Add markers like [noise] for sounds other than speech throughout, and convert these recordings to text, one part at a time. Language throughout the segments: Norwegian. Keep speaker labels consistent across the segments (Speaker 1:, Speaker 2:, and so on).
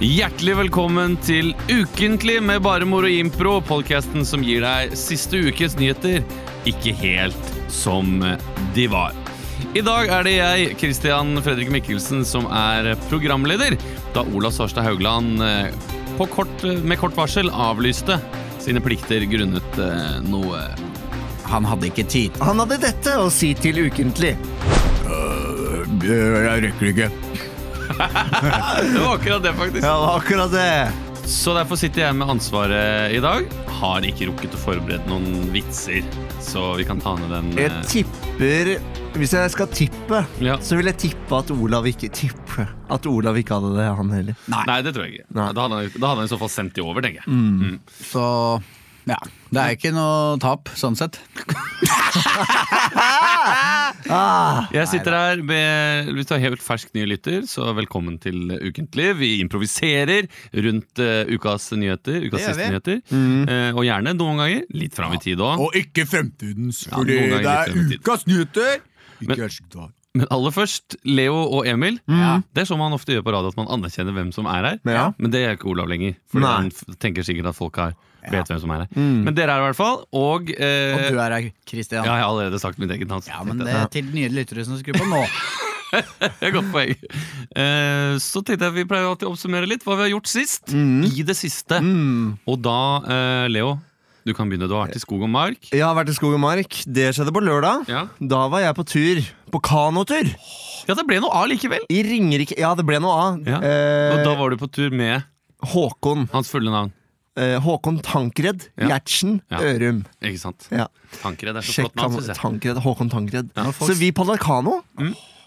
Speaker 1: Hjertelig velkommen til Ukentlig med bare mor og impro, podkasten som gir deg siste ukes nyheter ikke helt som de var. I dag er det jeg, Christian Fredrik Mikkelsen, som er programleder, da Ola Sarstad Haugland eh, på kort, med kort varsel avlyste sine plikter grunnet eh, noe
Speaker 2: Han hadde ikke tid.
Speaker 3: Han hadde dette å si til ukentlig.
Speaker 1: Øh,
Speaker 2: Jeg rekker ikke.
Speaker 1: Det var akkurat det, faktisk.
Speaker 3: Ja, det var akkurat det.
Speaker 1: Så derfor sitter jeg med ansvaret i dag. Har ikke rukket å forberede noen vitser, så vi kan ta ned den eh,
Speaker 3: Jeg tipper Hvis jeg skal tippe,
Speaker 1: Ja.
Speaker 3: så vil jeg tippe at Olav ikke tippe. At Olav ikke hadde det, han heller.
Speaker 1: Nei, det tror jeg ikke.
Speaker 3: Nei.
Speaker 1: Da, hadde han, da hadde han i så fall sendt de over, tenker jeg.
Speaker 2: Mm. Så ja, det er ikke noe tap sånn sett.
Speaker 1: Jeg sitter her med Hvis du er helt fersk ny lytter, så velkommen til Ukentlig. Vi improviserer rundt eh, ukas nyheter, ukas
Speaker 2: Det gjør
Speaker 1: siste
Speaker 2: vi.
Speaker 1: nyheter.
Speaker 2: Mm.
Speaker 1: Eh, og gjerne noen ganger litt fram i tid òg.
Speaker 4: Og ikke fremtidens,
Speaker 1: Ja,
Speaker 4: fordi
Speaker 1: noen ganger
Speaker 4: det
Speaker 1: litt
Speaker 4: er
Speaker 1: fremtid.
Speaker 4: ukas nyheter. Ikke
Speaker 1: Men-
Speaker 4: Erskdal.
Speaker 1: Men aller først, Leo og Emil.
Speaker 2: Mm. Ja.
Speaker 1: Det er som man ofte gjør på radio, at man anerkjenner hvem som er her.
Speaker 3: Men ja.
Speaker 1: Men det gjør ikke Olav lenger. For
Speaker 3: Nei.
Speaker 1: han f- tenker sikkert at folk har, vet hvem som er her. Men dere er her i hvert fall. Og, eh,
Speaker 2: Mm. Og du er her, Christian.
Speaker 1: ja,
Speaker 2: Ja,
Speaker 1: jeg har allerede sagt mitt eget navn. så
Speaker 2: men
Speaker 1: tenkte
Speaker 2: det
Speaker 1: jeg-
Speaker 2: er til nye lyttere som skrur på
Speaker 3: [laughs]
Speaker 2: nå.
Speaker 1: Det er et godt poeng. Eh, så tenkte jeg vi pleier alltid å oppsummere litt hva vi har gjort sist.
Speaker 3: Mm.
Speaker 1: I det siste. Og da, eh, Leo, du kan begynne. Du har vært i skog og mark.
Speaker 3: Jeg har vært i skog og mark. Det skjedde på lørdag.
Speaker 1: Ja,
Speaker 3: Da var jeg på tur. På kanotur!
Speaker 1: ja det ble noe av likevel.
Speaker 3: I Ringerike Ja, det ble noe av.
Speaker 1: Ja. Og
Speaker 3: Eh,
Speaker 1: da var du på tur med
Speaker 3: Håkon.
Speaker 1: hans fulle navn.
Speaker 3: Eh, Håkon Tankred.
Speaker 1: Ja.
Speaker 3: Gjertsen
Speaker 1: Ja.
Speaker 3: Ørum.
Speaker 1: Ikke sant?
Speaker 3: Ja.
Speaker 1: Tankred er så
Speaker 3: Sjekk
Speaker 1: flott navn, syns jeg.
Speaker 3: Tankred. Håkon Tankred.
Speaker 1: Ja, Mm. folk-
Speaker 3: Så vi padla kano,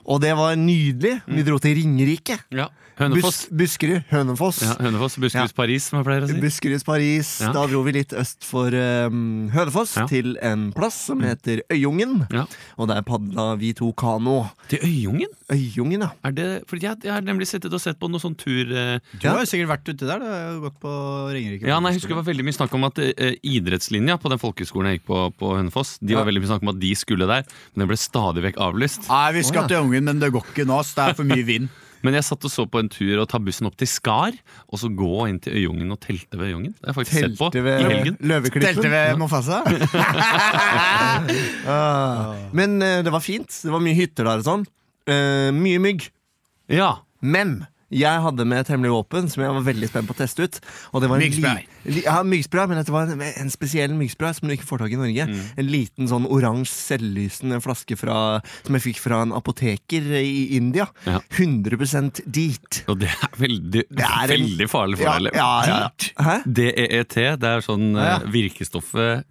Speaker 3: og det var nydelig. Vi dro til Ringerike.
Speaker 1: Ja.
Speaker 3: Bus
Speaker 1: Mm. Hønefoss.
Speaker 3: Buskerud. Hønefoss.
Speaker 1: Ja, Hønefoss, Buskerud,
Speaker 3: Ja.
Speaker 1: Paris, som jeg pleier å si.
Speaker 3: Buskeruds Paris.
Speaker 1: Ja.
Speaker 3: Da dro vi litt øst for um, Hønefoss,
Speaker 1: Ja. Mm.
Speaker 3: til en plass som heter Øyungen.
Speaker 1: Ja.
Speaker 3: Og der padla vi to kano.
Speaker 1: Til Øyungen?
Speaker 3: Øyungen, ja.
Speaker 1: Er det, fordi jeg, jeg har nemlig sittet og sett på noe sånn tur eh,
Speaker 2: Du har jo sikkert vært ute der. Du har jo gått på Ringerike.
Speaker 1: Ja, nei, jeg husker det var veldig mye snakk om at eh, idrettslinja på den folkeskolen jeg gikk på på Hønefoss, de var
Speaker 3: Ja.
Speaker 1: veldig mye snakk om at de skulle der, men den ble stadig vekk avlyst.
Speaker 2: Nei, vi
Speaker 3: Å, ja.
Speaker 2: skal til Ungen, men det går ikke nå. ass. Det er for mye [laughs] vind.
Speaker 1: Men jeg satt og så på en tur og ta bussen opp til Skar, og så gå inn til Øyungen og telte ved Øyungen. Det har jeg faktisk sett på
Speaker 3: Telte ved
Speaker 1: i helgen.
Speaker 2: Telte
Speaker 3: Løveklippen.
Speaker 2: ved Mofasa?
Speaker 3: [laughs] Ah. Men eh, det var fint. Det var mye hytter der og sånn. Eh, mye mygg.
Speaker 1: Ja.
Speaker 3: Men jeg hadde med et hemmelig våpen som jeg var veldig spent på å teste ut. Og det var en
Speaker 2: Myggspray.
Speaker 3: li- li- Ja, myggspray, men dette var en, en spesiell myggspray som du ikke får tak i i Norge.
Speaker 1: Mm.
Speaker 3: En liten sånn oransje selvlysende flaske fra, som jeg fikk fra en apoteker i India.
Speaker 1: Ja.
Speaker 3: 100 dit.
Speaker 1: Og det er veldig,
Speaker 3: er en-
Speaker 1: veldig farlig for deg, Lev.
Speaker 3: Hæ?
Speaker 1: DEET, E det er sånn eh,
Speaker 2: Ja, ja.
Speaker 1: virkestoffet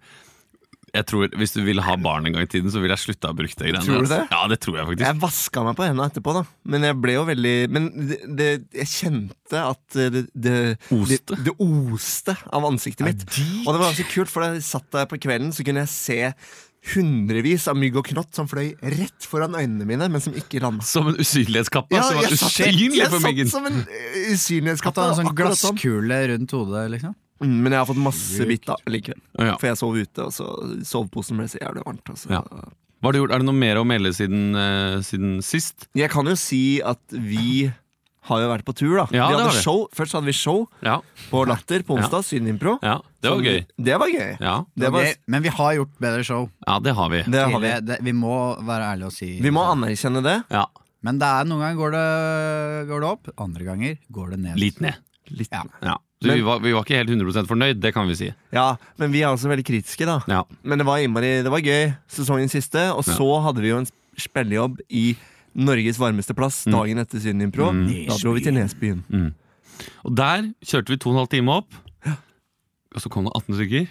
Speaker 1: jeg tror, Hvis du ville ha barn en gang i tiden, så ville jeg slutta å bruke det greiene.
Speaker 3: Tror du
Speaker 1: altså.
Speaker 3: det?
Speaker 1: Ja, det tror jeg faktisk.
Speaker 3: Jeg vaska meg på hendene etterpå, da. Men jeg ble jo veldig Men det, det, jeg kjente at det, det,
Speaker 1: Oste.
Speaker 3: det, det oste av ansiktet mitt. Og det var så kult, for da jeg satt der på kvelden, så kunne jeg se hundrevis av mygg og knott som fløy rett foran øynene mine, men som ikke Altså, landa.
Speaker 1: Som en usynlighetskappe som var usynlig
Speaker 3: jeg
Speaker 1: for myggen.
Speaker 3: satt som en ø,
Speaker 2: Hatt
Speaker 3: usynlighetskappe.
Speaker 2: en sånn
Speaker 3: akkurat sånn.
Speaker 2: glasskule rundt hodet, liksom?
Speaker 3: Mm, Men jeg har fått masse bitt da likevel.
Speaker 1: Ja.
Speaker 3: For jeg sov ute, og så soveposen ble så jævlig varmt. Altså.
Speaker 1: Ja. Hva har du gjort? Er det noe mer å melde siden, eh, siden sist?
Speaker 3: Jeg kan jo si at vi har jo vært på tur, da.
Speaker 1: Ja,
Speaker 3: vi
Speaker 1: det har
Speaker 3: hadde
Speaker 1: vi.
Speaker 3: show, Først hadde vi show
Speaker 1: Ja.
Speaker 3: på Latter på onsdag, Synimpro.
Speaker 1: Det var
Speaker 3: Som-
Speaker 1: gøy.
Speaker 3: Det var gøy.
Speaker 1: Ja,
Speaker 3: Det var,
Speaker 2: Ok, men vi har gjort bedre show.
Speaker 1: ja det har vi.
Speaker 3: det har vi.
Speaker 2: Tidlig. Det, vi må være ærlige og si sånn.
Speaker 3: Vi må anerkjenne det.
Speaker 1: Ja.
Speaker 2: Men det er, noen ganger går det, går det opp, andre ganger går det ned.
Speaker 1: Litt ned.
Speaker 3: Litt.
Speaker 2: Ja.
Speaker 1: Ja. Så vi, var, vi var ikke helt 100 fornøyd, det kan vi si.
Speaker 3: Ja, men vi er også veldig kritiske, da.
Speaker 1: Ja.
Speaker 3: Men det var innmari Det var gøy, sesongen siste. Og
Speaker 1: Ja.
Speaker 3: så hadde vi jo en spillejobb i Norges varmeste
Speaker 1: Mm.
Speaker 3: plass dagen etter Synimpro. Da dro vi til Nesbyen.
Speaker 1: Og der kjørte vi 2 12 timer opp, og så kom det 18
Speaker 3: [laughs]
Speaker 1: stykker.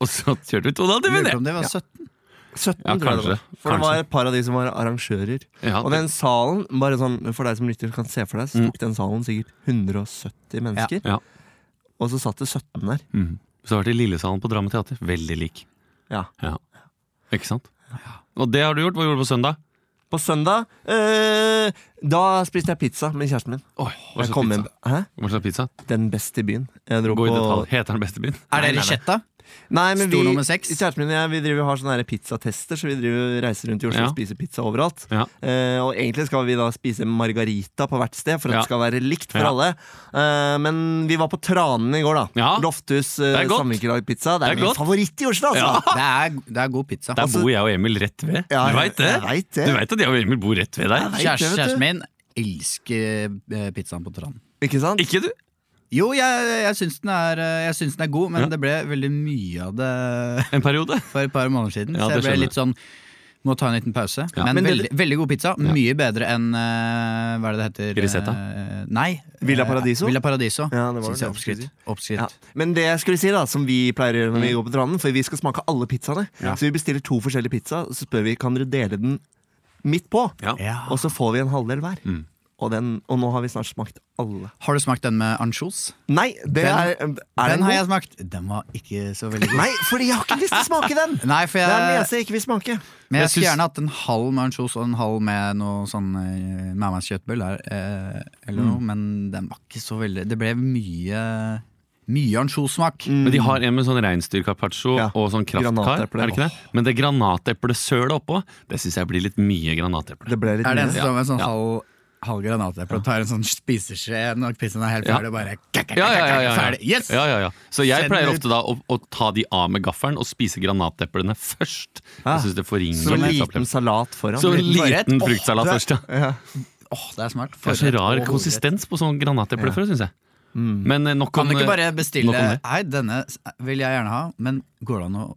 Speaker 1: Og så kjørte vi 2 12
Speaker 2: Jeg
Speaker 1: timer
Speaker 2: Lurer på
Speaker 1: ned!
Speaker 2: om det var 17.
Speaker 3: 17,
Speaker 1: Ja,
Speaker 3: tror jeg det
Speaker 1: kanskje.
Speaker 3: var. For det
Speaker 1: Kanskje.
Speaker 3: var et par av de som var arrangører.
Speaker 1: Ja, Mm.
Speaker 3: Og den salen, bare sånn for deg som lytter, kan se for deg, så tok den salen sikkert 170 mennesker.
Speaker 1: Ja.
Speaker 3: Og så satt det 17 der.
Speaker 1: Mhm. Så har det vært i Lillesalen på Drammen Teater. Veldig lik.
Speaker 3: Ja.
Speaker 1: Ja. Ikke sant? Og det har du gjort. Hva gjorde du på søndag?
Speaker 3: På søndag eh, Da spiste jeg pizza med kjæresten min.
Speaker 1: Oi, hva
Speaker 3: Jeg
Speaker 1: slags
Speaker 3: kom
Speaker 1: pizza?
Speaker 3: hjem- Hæ?
Speaker 1: Hva slags pizza?
Speaker 3: Den beste i byen. Jeg dro
Speaker 1: Gå i
Speaker 3: på
Speaker 1: detalj. Heter den beste byen?
Speaker 2: Er
Speaker 3: Nei,
Speaker 2: det
Speaker 3: nei, nei.
Speaker 2: ricetta?
Speaker 3: Nei, men
Speaker 2: Stor
Speaker 3: vi,
Speaker 2: nummer seks.
Speaker 3: Kjæresten min og jeg vi driver og har sånne her pizzatester, så vi driver, og reiser rundt i Oslo
Speaker 1: Ja.
Speaker 3: og spiser pizza overalt.
Speaker 1: Ja.
Speaker 3: Eh, og egentlig skal vi da spise margarita på hvert sted, for at
Speaker 1: Ja.
Speaker 3: det skal være likt for
Speaker 1: Ja.
Speaker 3: alle. Eh, men vi var på Tranen i går, da.
Speaker 1: Ja.
Speaker 3: Loftus uh,
Speaker 1: Det er godt.
Speaker 3: samvirkelagpizza. Det
Speaker 1: Det
Speaker 3: er,
Speaker 1: er
Speaker 3: min
Speaker 1: godt.
Speaker 3: favoritt i Oslo, altså!
Speaker 1: Ja.
Speaker 2: [laughs] Det er, det er god pizza. Altså,
Speaker 1: Der bor jeg og Emil rett ved.
Speaker 3: Ja,
Speaker 1: du
Speaker 3: jeg-
Speaker 1: veit det?
Speaker 3: jeg vet det.
Speaker 1: Du vet at jeg og Emil bor rett ved
Speaker 3: Jeg
Speaker 1: deg?
Speaker 3: vet.
Speaker 2: Kjæresten
Speaker 3: vet du.
Speaker 2: kjæresten min elsker eh, pizzaen på Trond.
Speaker 3: Ikke sant?
Speaker 1: Ikke du?
Speaker 2: Jo, jeg, jeg, syns den er, eh, jeg syns den er god, men
Speaker 1: Ja.
Speaker 2: det ble veldig mye av det [laughs]
Speaker 1: En periode?
Speaker 2: for et par måneder siden.
Speaker 1: Ja,
Speaker 2: så
Speaker 1: det skjønner
Speaker 2: jeg ble
Speaker 1: jeg.
Speaker 2: litt sånn må ta en liten pause.
Speaker 1: Ja.
Speaker 2: Men,
Speaker 3: Men det-
Speaker 2: veldig, veldig god pizza. Mye bedre enn eh, Hva er det det heter?
Speaker 1: Grisetta?
Speaker 2: Eh, nei.
Speaker 3: Villa
Speaker 2: eh,
Speaker 3: Paradiso?
Speaker 2: Villa Paradiso.
Speaker 3: Ja, det var det
Speaker 2: Syns jeg er
Speaker 3: jeg skulle
Speaker 2: oppskrytt. Oppskrytt.
Speaker 3: Ja. Men det jeg skulle si da, som vi pleier å gjøre når vi går på Tranen, for vi skal smake alle pizzaene.
Speaker 1: Mm. Ja.
Speaker 3: Så vi bestiller to forskjellige pizza, og så spør vi kan dere dele den midt på.
Speaker 1: Ja.
Speaker 2: Ja.
Speaker 3: Og så får vi en halvdel hver.
Speaker 1: Mm.
Speaker 3: Og, den, og nå har vi snart smakt alle.
Speaker 2: Har du smakt den med ansjos?
Speaker 3: Nei, det
Speaker 2: Den-
Speaker 3: er, er
Speaker 2: Den
Speaker 3: den
Speaker 2: har
Speaker 3: god?
Speaker 2: jeg smakt. Den var ikke så veldig god.
Speaker 3: Nei, fordi jeg har ikke lyst til å smake den!
Speaker 2: [laughs] Nei, for
Speaker 3: Det er den
Speaker 2: jeg,
Speaker 3: eneste jeg ikke vil smake.
Speaker 2: men jeg
Speaker 1: Jeg
Speaker 2: skulle
Speaker 1: syns-
Speaker 2: gjerne hatt en halv med ansjos og en halv med noe sånn eh, mærmannskjøttbøll her, eh, eller
Speaker 1: Mm.
Speaker 2: noe, men den var ikke så veldig Det ble mye Mye ansjossmak.
Speaker 1: Men de har en med sånn reinsdyrcarpaccio
Speaker 3: Ja.
Speaker 1: og sånn kraftkar.
Speaker 3: Granateple.
Speaker 1: Er det ikke det? Men det granateplesølet oppå, det syns jeg blir litt mye granateple.
Speaker 3: Det ble litt
Speaker 2: Er det
Speaker 3: mye.
Speaker 2: en som
Speaker 1: Ja,
Speaker 2: står med en sånn
Speaker 1: ja.
Speaker 2: halv, halv granateple og tar en sånn spiseskje når pizzaen er helt
Speaker 1: Ja.
Speaker 2: ferdig, og bare kakk, kakk,
Speaker 1: Ja, ja, ja, ja, ja.
Speaker 2: ferdig. Yes!
Speaker 1: ja, ja, ja. Så jeg
Speaker 2: Send
Speaker 1: pleier
Speaker 2: ut.
Speaker 1: ofte da å, å ta de av med gaffelen og spise granateplene først.
Speaker 3: Ah,
Speaker 1: Jeg syns det
Speaker 3: Så
Speaker 1: forringer
Speaker 3: en
Speaker 1: litt
Speaker 3: liten
Speaker 1: opplevelsen.
Speaker 3: salat foran.
Speaker 1: Så en
Speaker 2: forrett.
Speaker 1: liten
Speaker 2: Åh,
Speaker 1: fruktsalat
Speaker 2: det er-
Speaker 1: først, ja.
Speaker 2: Åh, det er smart.
Speaker 1: Det er så
Speaker 2: Forrett
Speaker 1: rar
Speaker 2: og hovedrett.
Speaker 1: konsistens på sånn granateple før, syns jeg. Men eh, nok
Speaker 2: Kan
Speaker 1: om
Speaker 2: du ikke
Speaker 1: eh,
Speaker 2: bare bestille
Speaker 1: nok om det.
Speaker 2: Nei, denne s- vil jeg gjerne ha, men går det an å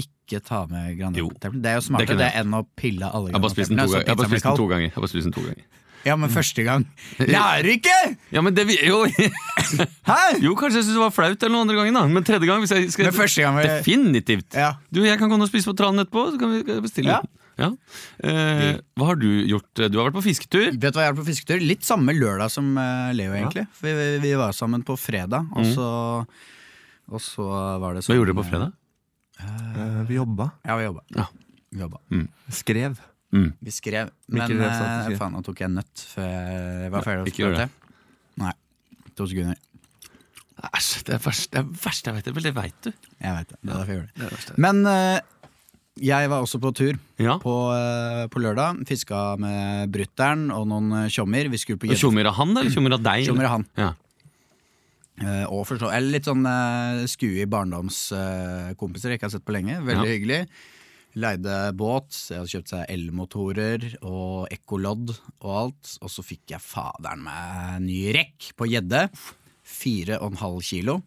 Speaker 2: ikke ta med
Speaker 1: Jo.
Speaker 2: granateplen? Det er jo
Speaker 1: Det
Speaker 2: smartere
Speaker 1: kunne
Speaker 2: det,
Speaker 1: jeg.
Speaker 2: enn å pille alle
Speaker 1: Jeg har bare spist den to ganger.
Speaker 2: granateplene. så
Speaker 1: Jeg har bare
Speaker 2: pizzaen blir
Speaker 1: spist den
Speaker 2: kald.
Speaker 1: to ganger. Jeg har bare spist den to ganger.
Speaker 2: Ja, men første [laughs] gang. Lærer ikke!
Speaker 1: Ja, men det vi, jo,
Speaker 2: Hæ?
Speaker 1: jo, kanskje jeg syns det var flaut eller noe andre gangen, da. Men tredje gang hvis jeg skal
Speaker 2: Men første gang eh, var det-
Speaker 1: Definitivt.
Speaker 2: Ja.
Speaker 1: Du, jeg kan gå ned og spise på tranen etterpå, så kan vi kan jeg bestille.
Speaker 2: Ja.
Speaker 1: den. Ja. Eh, hva har du gjort? Du har vært på fisketur.
Speaker 2: Vet du hva jeg er på fisketur? Litt samme lørdag som eh, Leo, egentlig. For vi, vi var sammen på fredag, og så, og så var det sånn
Speaker 1: Hva gjorde du på fredag?
Speaker 3: Eh, Vi jobba.
Speaker 2: Ja, Mm. vi jobba.
Speaker 1: Ja.
Speaker 2: Vi, jobba.
Speaker 3: Skrev.
Speaker 2: vi skrev.
Speaker 3: Mikkel
Speaker 2: Men
Speaker 3: Rev satt og
Speaker 2: eh,
Speaker 3: skrev.
Speaker 2: faen, nå tok jeg en nøtt før jeg var
Speaker 1: Nei,
Speaker 2: ferdig. å
Speaker 1: ikke gjør
Speaker 2: prate. Nei. To sekunder.
Speaker 1: Æsj, det er verst, det er verst jeg vet. Vel, det veit du.
Speaker 2: Jeg veit det. Det er derfor jeg gjorde det.
Speaker 1: Det er verst, det.
Speaker 2: Men eh, jeg var også på tur
Speaker 1: Ja.
Speaker 2: på, eh, på lørdag. Fiska med brutter'n og noen eh, tjommer. Vi skulle på gjedde-
Speaker 1: Tjommer av han, eller tjommer av deg?
Speaker 2: Tjommer av han.
Speaker 1: Ja.
Speaker 2: Eh, og forstå, eller litt sånn eh, skue i barndomskompiser jeg ikke har sett på lenge. Veldig hyggelig. Leide båt, så jeg hadde kjøpt seg elmotorer og ekkolodd og alt. Og så fikk jeg faderen meg ny rekk på gjedde. Fire og en halv kilo.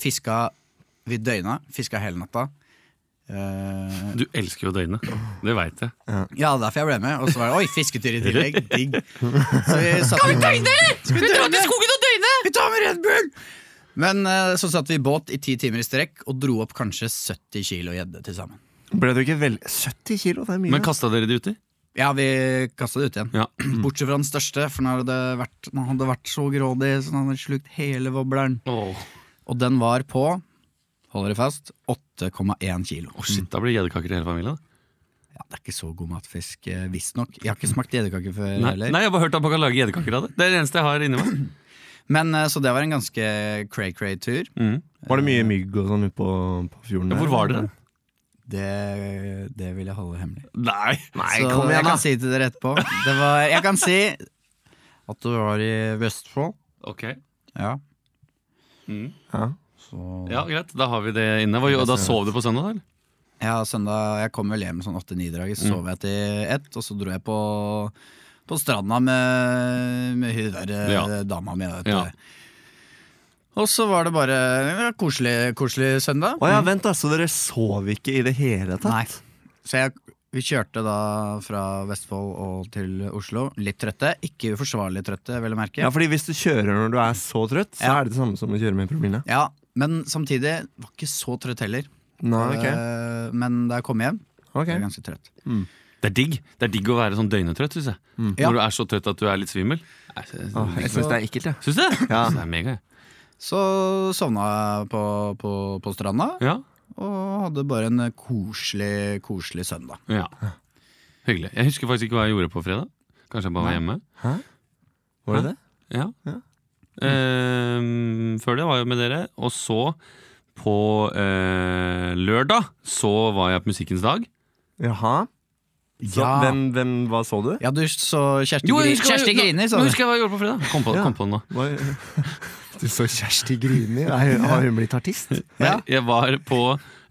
Speaker 2: Fiska vi døgna, fiska hele natta. Eh,
Speaker 1: Du elsker jo døgnet. Det veit jeg.
Speaker 2: ja, derfor jeg ble med. Og så var det oi, fisketur i tillegg. Digg. Så vi satt Skal vi døgne, eller? Skal vi dra til skogen og døgne? Vi tar med Red Bull! Men eh, så satt vi i båt i ti timer i strekk og dro opp kanskje 70 kilo gjedde til sammen.
Speaker 3: Ble du ikke vel 70 kilo? Det er mye.
Speaker 1: Men kasta dere det uti?
Speaker 2: Ja, vi kasta det ut igjen.
Speaker 1: Ja.
Speaker 2: [clears throat] Bortsett fra den største, for den hadde vært, den hadde vært så grådig, så den hadde slukt hele wobbleren.
Speaker 1: Åh,
Speaker 2: Og den var på, hold dere fast, 8,1 kilo.
Speaker 1: Åh, shit, da blir det gjedderkaker til hele familien. da.
Speaker 2: Ja, det er ikke så god matfisk, eh, visstnok. Jeg har
Speaker 3: Mm.
Speaker 2: ikke smakt gjeddekake før
Speaker 1: Nei,
Speaker 2: heller.
Speaker 1: nei, jeg har bare hørt at man kan lage gjedderkaker av det. Det er det eneste jeg har inni meg.
Speaker 2: Men eh, Så det var en ganske cray-cray tur.
Speaker 1: Mm.
Speaker 3: Var det mye mygg og sånn ute på, på fjorden?
Speaker 1: Ja,
Speaker 3: der?
Speaker 1: hvor var dere?
Speaker 2: Det, det vil jeg holde hemmelig.
Speaker 1: Nei.
Speaker 3: Nei,
Speaker 2: så
Speaker 3: kom
Speaker 2: jeg
Speaker 3: igjen, da!
Speaker 2: kan si til dere etterpå. Det var, jeg kan si at du var i Vestfold.
Speaker 1: Ok.
Speaker 2: Ja.
Speaker 1: Mm.
Speaker 3: Ja.
Speaker 2: Så
Speaker 1: Ja, greit. Da har vi det inne. Hva, og da sov du på søndag, da, eller?
Speaker 2: ja, søndag Jeg kom vel hjem sånn åtte-ni-draget, så sov jeg til ett, og så dro jeg på, på stranda med, med hun der eh,
Speaker 1: Ja.
Speaker 2: dama mi. vet du.
Speaker 1: Ja.
Speaker 2: Og så var det bare ja, koselig, koselig søndag.
Speaker 3: Å ja, vent, da. Så dere sov ikke i det hele tatt?
Speaker 2: Nei. Så jeg, vi kjørte da fra Vestfold og til Oslo. Litt trøtte. Ikke uforsvarlig trøtte, vel å merke.
Speaker 3: Ja, fordi hvis du kjører når du er så trøtt, så
Speaker 2: Ja.
Speaker 3: er det det samme som å kjøre med promille.
Speaker 2: Ja, men samtidig var ikke så trøtt heller.
Speaker 3: Nei,
Speaker 2: Eh, Men da jeg kom hjem,
Speaker 3: ok
Speaker 2: var jeg ganske trøtt.
Speaker 1: Det er digg Det er digg å være sånn døgnetrøtt, syns jeg.
Speaker 2: Ja.
Speaker 1: Når du er så trøtt at du er litt svimmel.
Speaker 3: Åh, jeg syns det er ekkelt, jeg.
Speaker 1: Syns du det?
Speaker 3: Ja.
Speaker 1: Synes Det er mega, jeg.
Speaker 2: Så sovna jeg på, på, på stranda
Speaker 1: ja.
Speaker 2: og hadde bare en koselig, koselig søndag.
Speaker 1: ja. Hyggelig. Jeg husker faktisk ikke hva jeg gjorde på fredag. Kanskje jeg bare var
Speaker 2: Nei.
Speaker 1: hjemme.
Speaker 3: Var det det?
Speaker 1: Ja.
Speaker 3: Ja.
Speaker 1: Ehm, før det var jeg med dere, og så På eh, lørdag så var jeg på Musikkens dag.
Speaker 3: Jaha. Så,
Speaker 2: Ja.
Speaker 3: hvem, hvem, hva så du?
Speaker 2: Ja, du så Kjersti, Gri Kjersti Griner, sa
Speaker 1: Nå
Speaker 2: du.
Speaker 1: husker jeg hva jeg gjorde på fredag. Kom på,
Speaker 3: Ja.
Speaker 1: kom på den nå.
Speaker 3: Hva, du så Kjersti Grini? Er, har hun blitt artist?
Speaker 1: Nei,
Speaker 2: Ja.
Speaker 1: Jeg var på,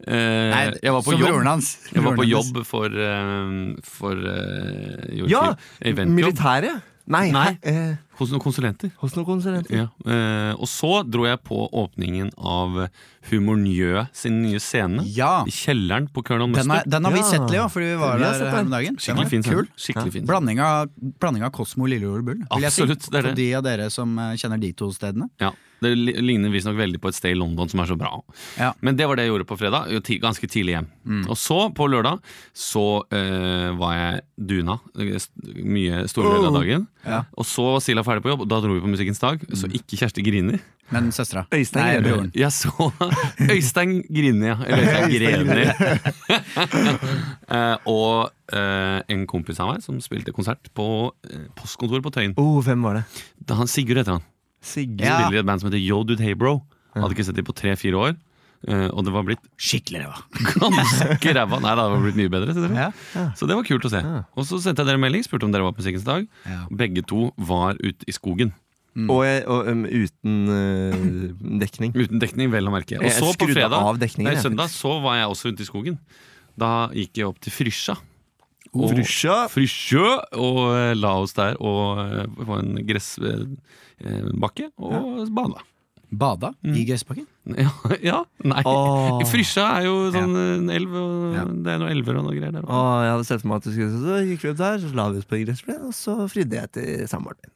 Speaker 1: eh,
Speaker 2: Nei,
Speaker 1: jeg var på
Speaker 2: så
Speaker 1: jobb.
Speaker 2: broren hans.
Speaker 1: Jeg var på
Speaker 2: Broren hans.
Speaker 1: jobb for, eh, for eh, gjorde
Speaker 3: Ja!
Speaker 1: ikke- eventjobb
Speaker 3: Militæret? Nei,
Speaker 1: Nei.
Speaker 3: hæ? Eh,
Speaker 1: hos noen konsulenter.
Speaker 3: hos noen konsulenter.
Speaker 1: Ja. eh, og så dro jeg på åpningen av Humor Njø sin nye scene.
Speaker 2: Ja.
Speaker 1: I kjelleren på Colonel
Speaker 2: Den,
Speaker 1: Mustard.
Speaker 2: er, den har vi
Speaker 3: Ja.
Speaker 2: sett, Leo, fordi vi var
Speaker 3: Vi har
Speaker 2: der
Speaker 3: sett
Speaker 2: her
Speaker 3: den.
Speaker 2: om dagen. Den
Speaker 1: Skikkelig
Speaker 2: er
Speaker 1: fin
Speaker 2: kul.
Speaker 1: scene. Skikkelig fin scene.
Speaker 2: Blanding av, blanding av Kosmo, Lillejord og Bull. vil jeg si.
Speaker 1: Absolutt, det er det.
Speaker 2: For de av dere som eh, kjenner de to stedene.
Speaker 1: Ja, det li- ligner visstnok veldig på et sted i London som er så bra.
Speaker 2: Ja. Mm.
Speaker 1: Men det var det jeg gjorde på fredag. jo, ti- Ganske tidlig hjem. Og så, på lørdag, så eh, var jeg duna eh, st- mye store deler av dagen.
Speaker 2: Oh, Ja. Mm.
Speaker 1: Og så var Sila ferdig på jobb, og da dro vi på Musikkens dag. Så ikke Kjersti Grini.
Speaker 2: Men søstera.
Speaker 3: Øystein
Speaker 2: Nei,
Speaker 3: Grene.
Speaker 2: broren.
Speaker 1: Jeg så [laughs] Øystein Grini, ja. Eller Øystein Greni. [laughs] Eh, og eh, en kompis av meg som spilte konsert på eh, postkontoret på Tøyen.
Speaker 3: Oh, hvem var det?
Speaker 1: Da han Sigurd heter han.
Speaker 3: Sigge.
Speaker 2: Ja.
Speaker 1: spiller i et band som heter Yo Dude Hey Bro. Hadde ikke sett dem på tre-fire år. eh, og det var blitt
Speaker 2: Skikkelig ræva.
Speaker 3: [laughs]
Speaker 1: ganske ræva. Nei, det hadde blitt mye bedre. Så det, var.
Speaker 2: Ja.
Speaker 1: så det var kult å se. Og så sendte jeg dere en melding, spurte om dere var på Musikkens dag.
Speaker 2: Ja.
Speaker 1: Begge to var ute i skogen.
Speaker 3: Og, jeg- og um, uten eh, dekning.
Speaker 1: Uten dekning, vel å merke. Og
Speaker 3: Jeg
Speaker 1: så på
Speaker 3: skrudde
Speaker 1: fredag,
Speaker 3: av dekningen,
Speaker 1: nei,
Speaker 3: jeg.
Speaker 1: søndag så var jeg også ute i skogen. Da gikk jeg opp til Frysja. Og-
Speaker 3: Frusja.
Speaker 1: Frysjø, og eh, la oss der og eh, på en gressbakke og bada.
Speaker 2: Bada i gressbakken.
Speaker 1: [laughs] Ja, ja, nei.
Speaker 3: Åh.
Speaker 1: Frysja er jo sånn en elv, og
Speaker 2: Ja.
Speaker 1: det er noen elver og noe greier der.
Speaker 3: Å, jeg hadde sett for meg at du skulle Så gikk vi opp der, så la vi oss på gressplenen, og så fridde jeg til samboeren min.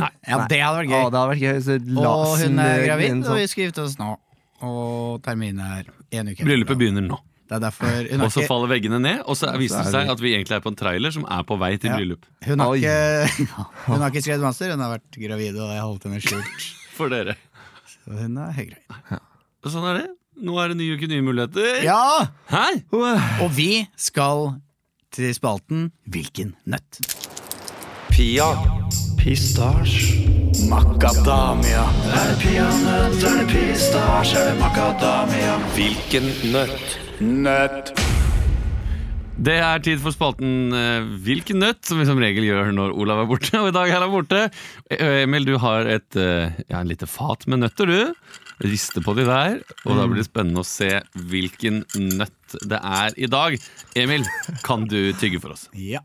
Speaker 2: Ja,
Speaker 3: Nei.
Speaker 2: det hadde
Speaker 3: Å,
Speaker 2: vært
Speaker 3: det
Speaker 2: gøy.
Speaker 3: hadde vært gøy. Så la
Speaker 2: og
Speaker 3: oss
Speaker 2: hun er
Speaker 3: ned i
Speaker 2: gravid,
Speaker 3: en
Speaker 2: og
Speaker 3: sånn-
Speaker 2: vi skal gifte oss nå. Og terminen er en uke.
Speaker 1: Bryllupet begynner nå,
Speaker 2: Det er derfor hun
Speaker 1: og
Speaker 2: har
Speaker 1: så
Speaker 2: ikke,
Speaker 1: faller veggene ned. Og så viser det
Speaker 3: Så er
Speaker 1: seg at vi egentlig er på en trailer som er på vei til
Speaker 2: Ja.
Speaker 1: bryllup.
Speaker 2: hun har
Speaker 3: Oi.
Speaker 1: [laughs]
Speaker 2: ikke, [laughs] hun har ikke skrevet master, hun har vært gravid, og jeg holdt henne skjult.
Speaker 1: For dere.
Speaker 2: Så hun er høygravid.
Speaker 1: Og Sånn er det. Nå er det ny uke, nye muligheter.
Speaker 2: Ja!
Speaker 1: Hæ?
Speaker 3: Åh,
Speaker 2: Og vi skal til spalten Hvilken nøtt?
Speaker 5: Pia. Pistasj. Makadamia. Er det peanøtt, er det pistasj, er det makadamia? Hvilken nøtt?
Speaker 4: Nøtt.
Speaker 1: Det er tid for spalten eh, Hvilken nøtt, som vi som regel gjør når Olav er borte. Og i dag er han borte. Eh, Emil, du har et eh, ja, en lite fat med nøtter, du. Rister på de der, og da blir det spennende å se hvilken nøtt det er i dag. Emil, kan du tygge for oss?
Speaker 2: Ja.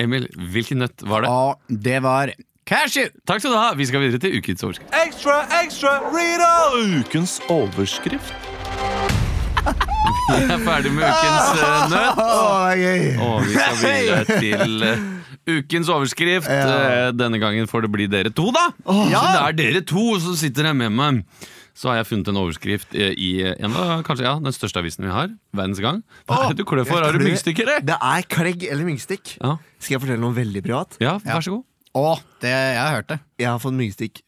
Speaker 1: Emil, hvilken nøtt var det?
Speaker 2: Og det var cashew!
Speaker 1: Takk skal du ha. Vi skal videre til ukens overskrift.
Speaker 5: Ekstra, ekstra, reader! Ukens overskrift.
Speaker 1: Vi er ferdig med ukens eh, nøtt.
Speaker 3: det er gøy.
Speaker 1: Og vi skal videre til eh, ukens overskrift. Eh, Denne gangen får det bli dere to, da. Så det er dere to som sitter her med meg. Så har jeg funnet en overskrift eh, i en av kanskje, ja, den største avisen vi har. Verdens Gang. Hva er det du klør for? Har du myggstykker, eller?
Speaker 3: Det er klegg eller myggstikk.
Speaker 1: Ja.
Speaker 3: Skal jeg fortelle noe veldig privat?
Speaker 1: ja, vær så god.
Speaker 2: Å, det, jeg har hørt det.
Speaker 3: Jeg har fått myggstikk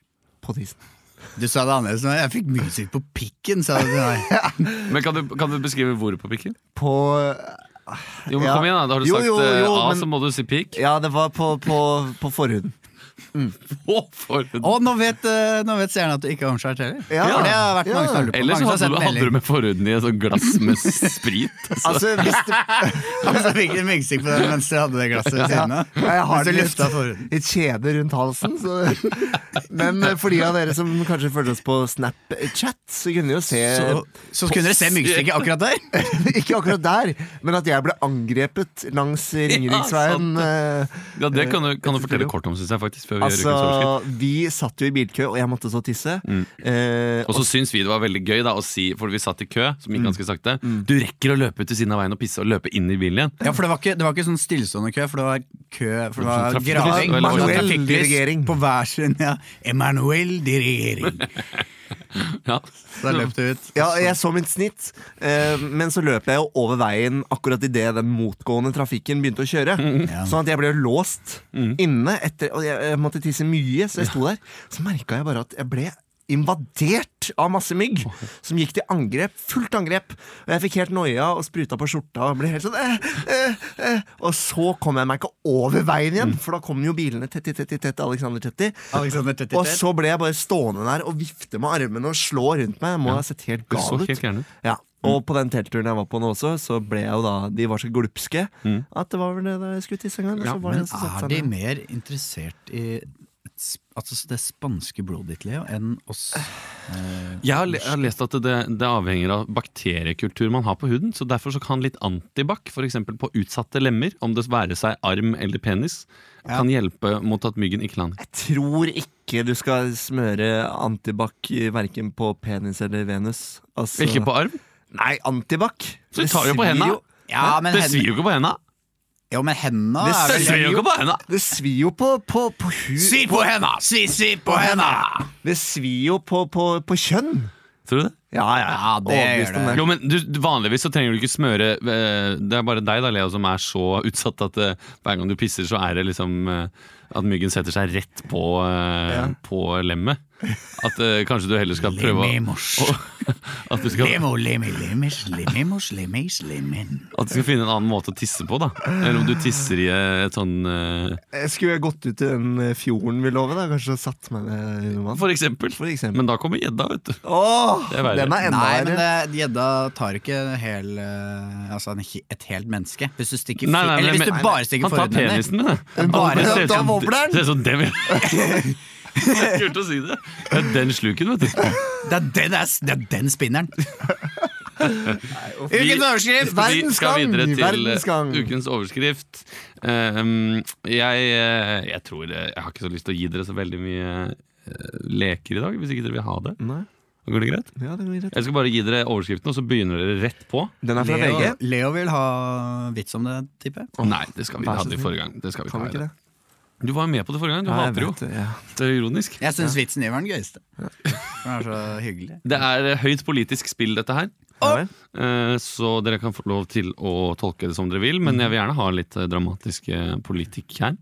Speaker 3: på tissen.
Speaker 2: Du sa det annerledes. nå. Jeg fikk musikk på pikken, sa du til meg.
Speaker 3: [laughs]
Speaker 1: Men kan du, kan du beskrive hvor på pikken?
Speaker 3: På
Speaker 1: Jo, men
Speaker 3: Ja.
Speaker 1: Kom igjen, da. Da har du
Speaker 3: Jo,
Speaker 1: sagt
Speaker 3: jo,
Speaker 1: eh,
Speaker 3: jo,
Speaker 1: A,
Speaker 3: men-
Speaker 1: så må du si
Speaker 3: [laughs]
Speaker 1: pikk.
Speaker 3: Ja, det var på, på, på forhuden.
Speaker 1: Å, for en-
Speaker 2: Å, nå vet, eh, nå vet seerne at du ikke har omskjært heller.
Speaker 3: Ja.
Speaker 2: For det har vært
Speaker 3: Ja.
Speaker 2: mange som har lurt på.
Speaker 1: Ellers
Speaker 2: mange
Speaker 1: hadde
Speaker 2: som har
Speaker 1: du,
Speaker 2: sendt
Speaker 1: hadde
Speaker 2: melding.
Speaker 1: du med forhuden i et sånt glass
Speaker 3: [laughs]
Speaker 1: med sprit. Altså.
Speaker 3: Altså, hvis du
Speaker 2: Og [laughs] så fikk du musikk på den mens du hadde det glasset ved siden av.
Speaker 3: Ja, jeg har
Speaker 2: Mens du
Speaker 3: det litt-
Speaker 2: lufta forhuden.
Speaker 3: Et kjede rundt halsen. Så. Men eh, for de av dere som kanskje følger oss på Snapchat, så kunne de jo se
Speaker 2: Så, så kunne dere se myggstikket akkurat der.
Speaker 3: [laughs] Ikke akkurat der, men at jeg ble angrepet langs Ringeriksveien. eh,
Speaker 1: Ja, det kan du, kan du fortelle kort om, syns jeg, faktisk. Før vi gjør ukens overskrift.
Speaker 3: Altså, vi satt jo i bilkø, og jeg måtte så tisse. Eh,
Speaker 1: Og så syns vi det var veldig gøy da å si, for vi satt i kø, som gikk ganske sakte Du rekker å løpe ut til siden av veien og pisse og løpe inn i bilen igjen.
Speaker 2: [laughs] Ja, for det var, ikke, det var ikke sånn stillestående kø, for det var kø For det var
Speaker 1: Trafikk-
Speaker 2: graving.
Speaker 1: Manuel
Speaker 2: Manuel trafikklys
Speaker 3: dirigering.
Speaker 2: på hver sin. Ja. Emanuel dirigering.
Speaker 1: Ja.
Speaker 2: Så da løp du ut.
Speaker 3: Ja, jeg så mitt snitt, eh, men så løp jeg jo over veien akkurat idet den motgående trafikken begynte å kjøre.
Speaker 2: Mm.
Speaker 3: Sånn at jeg ble jo låst inne, etter, og jeg, jeg måtte tisse mye, så jeg sto der. Så merka jeg bare at jeg ble invadert av masse mygg som gikk til angrep, fullt angrep. Og jeg fikk helt noia og spruta på skjorta og ble helt sånn eh, eh, eh. Og så kom jeg meg ikke over veien igjen, for da kom jo bilene tett i tett i tett Alexander 30.
Speaker 2: Mm. Alexander tett i
Speaker 3: Og
Speaker 2: tett.
Speaker 3: så ble jeg bare stående der og vifte med armene og slå rundt meg. Jeg må ha sett helt
Speaker 1: Du så
Speaker 3: gal
Speaker 1: helt
Speaker 3: ut. Mm.
Speaker 1: gæren ut.
Speaker 3: Ja. Og på den teltturen jeg var på nå også, så ble jeg jo da De var så glupske at det var vel det da jeg skulle tisse en gang. og så var det
Speaker 2: Men
Speaker 3: en som satte
Speaker 2: er
Speaker 3: seg
Speaker 2: de
Speaker 3: ned.
Speaker 2: mer interessert i s- altså det spanske blodet ditt, Leo, enn oss?
Speaker 1: Jeg har, le- jeg har lest at det, det avhenger av bakteriekultur man har på huden. så Derfor så kan litt antibac, f.eks. på utsatte lemmer, om det være seg arm eller penis, kan hjelpe mot at myggen ikke lander.
Speaker 3: Jeg tror ikke du skal smøre antibac i- verken på penis eller Venus. Altså-
Speaker 1: Ikke på arm.
Speaker 3: Nei, antibac!
Speaker 1: Så
Speaker 3: Det
Speaker 1: du tar jo på
Speaker 3: svir
Speaker 1: henda.
Speaker 3: jo-
Speaker 2: Ja, men,
Speaker 1: Det svir jo ikke på henda!
Speaker 2: jo, men henda
Speaker 3: Det
Speaker 2: er
Speaker 1: Det
Speaker 2: vel
Speaker 1: svir jo ikke på henda!
Speaker 3: Det svir jo på, på, på hu...
Speaker 2: på henda! Si, si på henda!
Speaker 3: Det svir jo på, på, på kjønn.
Speaker 1: Tror du det?
Speaker 3: Ja, ja,
Speaker 2: Ja, det gjør
Speaker 3: Overbevist om
Speaker 2: det.
Speaker 1: Jo, men du, vanligvis så trenger du ikke smøre eh, Det er bare deg da, Leo, som er så utsatt at eh, hver gang du pisser, så er det liksom eh, at myggen setter seg rett på, eh, på lemmet. At eh, kanskje du heller skal prøve å
Speaker 2: [laughs] Lememos.
Speaker 1: at du, skal,
Speaker 2: Lemo, lemi, lemis, lememos, lemis, lemen.
Speaker 1: at du skal finne en annen måte å tisse på, da. Eller om du tisser i eh, et sånn eh,
Speaker 3: Jeg skulle jeg gått ut i den eh, fjorden vi lover, da? Kanskje satt meg ned under vann?
Speaker 1: For eksempel.
Speaker 3: For eksempel.
Speaker 1: Men da kommer gjedda, vet du.
Speaker 3: Åh,
Speaker 1: Det er verre.
Speaker 3: den er enda
Speaker 2: Nei, men
Speaker 3: verre.
Speaker 2: det- gjedda tar ikke en hel, eh, altså en, he- et helt menneske. Hvis du stikker fi-
Speaker 1: Nei, nei,
Speaker 2: Eller
Speaker 1: men-
Speaker 2: hvis du bare stikker
Speaker 1: Han tar
Speaker 2: forhuden
Speaker 1: penisen din.
Speaker 2: Men bare-
Speaker 1: ser ut
Speaker 3: da
Speaker 1: som-
Speaker 3: wobler den.
Speaker 1: Ser ut som [laughs] dem. Kult å si det. Det er den sluken, vet du.
Speaker 2: Det er den, det er, det er den spinneren. [laughs]
Speaker 1: Vi-
Speaker 2: Ukens overskrift!
Speaker 1: Vi
Speaker 3: Verdens
Speaker 1: skal
Speaker 3: gang!
Speaker 1: videre til
Speaker 3: Verdens gang.
Speaker 1: eh, ukens overskrift. Um, jeg, eh, jeg tror eh, Jeg har ikke så lyst til å gi dere så veldig mye eh, leker i dag, hvis ikke dere vil ha det.
Speaker 3: Nei.
Speaker 1: Går det greit?
Speaker 3: Ja, det går greit.
Speaker 1: Jeg skal bare gi dere overskriften, og så begynner dere rett på.
Speaker 3: Den er fra VG.
Speaker 2: Leo, Leo vil ha vits om det, tipper jeg.
Speaker 1: Nei, det skal vi
Speaker 3: vær
Speaker 1: ikke
Speaker 3: så
Speaker 1: ha det i
Speaker 3: snill.
Speaker 1: forrige gang. Det skal vi ikke
Speaker 3: Kan vi
Speaker 1: ha i
Speaker 3: ikke
Speaker 1: dag.
Speaker 3: det?
Speaker 1: Du var jo med på det forrige gang. Du
Speaker 3: Ja, jeg
Speaker 1: hater jo.
Speaker 3: vet det, ja.
Speaker 1: Det er ironisk.
Speaker 2: Jeg syns vitsen i var den gøyeste. Den er så hyggelig.
Speaker 1: Det er eh, høyt politisk spill, dette her.
Speaker 3: Ja, vel.
Speaker 1: Eh, Så dere kan få lov til å tolke det som dere vil, men jeg vil gjerne ha litt eh, dramatisk eh, politikk her.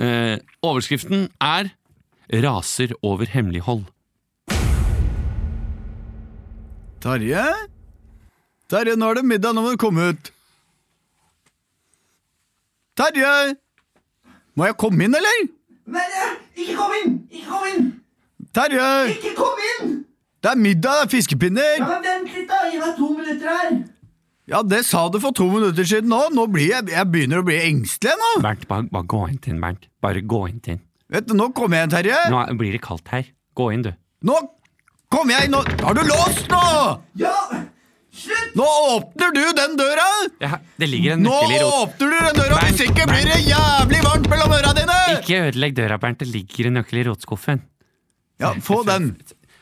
Speaker 1: Eh, Overskriften er 'Raser over hemmelighold'.
Speaker 2: [laughs] Tarje? Tarje, nå er det middag. Nå må du komme ut. Tarje! Må jeg komme inn, eller?
Speaker 6: eh, Ikke kom inn! Ikke kom inn!
Speaker 2: Terje!
Speaker 6: Ikke kom inn!
Speaker 2: Det er middag! Det er fiskepinner!
Speaker 6: Ja, men Vent litt, da. Gi meg to minutter her.
Speaker 2: Ja, det sa du for to minutter siden òg. Nå blir jeg, jeg begynner å bli engstelig nå.
Speaker 1: Bernt, bare, bare gå inn til den, Bernt. Bare gå inn til den.
Speaker 2: Vet du, Nå kommer jeg, Terje.
Speaker 1: Nå er- blir det kaldt her. Gå inn, du.
Speaker 2: Nå kommer jeg nå. Har du låst nå?
Speaker 6: Ja! Slutt!
Speaker 2: Nå åpner du den døra!
Speaker 1: Jeg har- Det ligger en
Speaker 2: Nå
Speaker 1: nøkkel i roten.
Speaker 2: åpner du den døra,
Speaker 1: Bernt,
Speaker 2: hvis ikke blir
Speaker 1: Bernt.
Speaker 2: det jævlig varmt mellom øra dine!
Speaker 1: Ikke ødelegg døra, Bernt. Det ligger en nøkkel i rotskuffen.
Speaker 2: Ja, få den.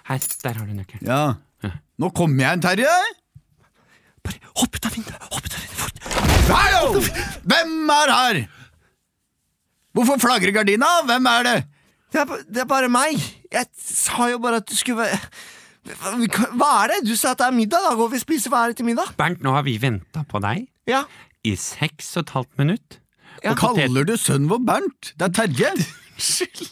Speaker 1: Her, der har du nøkkelen.
Speaker 2: Ja. Nå kommer jeg, Terje.
Speaker 3: Bare hopp ut av vinduet! Hopp ut av vinduet fort!
Speaker 2: Hallo! Hvem er her? Hvorfor flagrer gardina? Hvem er det?
Speaker 3: Det er, ba- det er bare meg! Jeg sa jo bare at du skulle være Hva- vi kan- Hva er det? Du sa at det er middag. Da går vi og spiser hva er det til middag.
Speaker 1: Bernt, nå har vi venta på deg
Speaker 3: Ja,
Speaker 1: i seks og et halvt minutt.
Speaker 3: Ja,
Speaker 1: Og potet-
Speaker 2: Kaller du sønnen vår Bernt? Det er Terje.
Speaker 1: Unnskyld.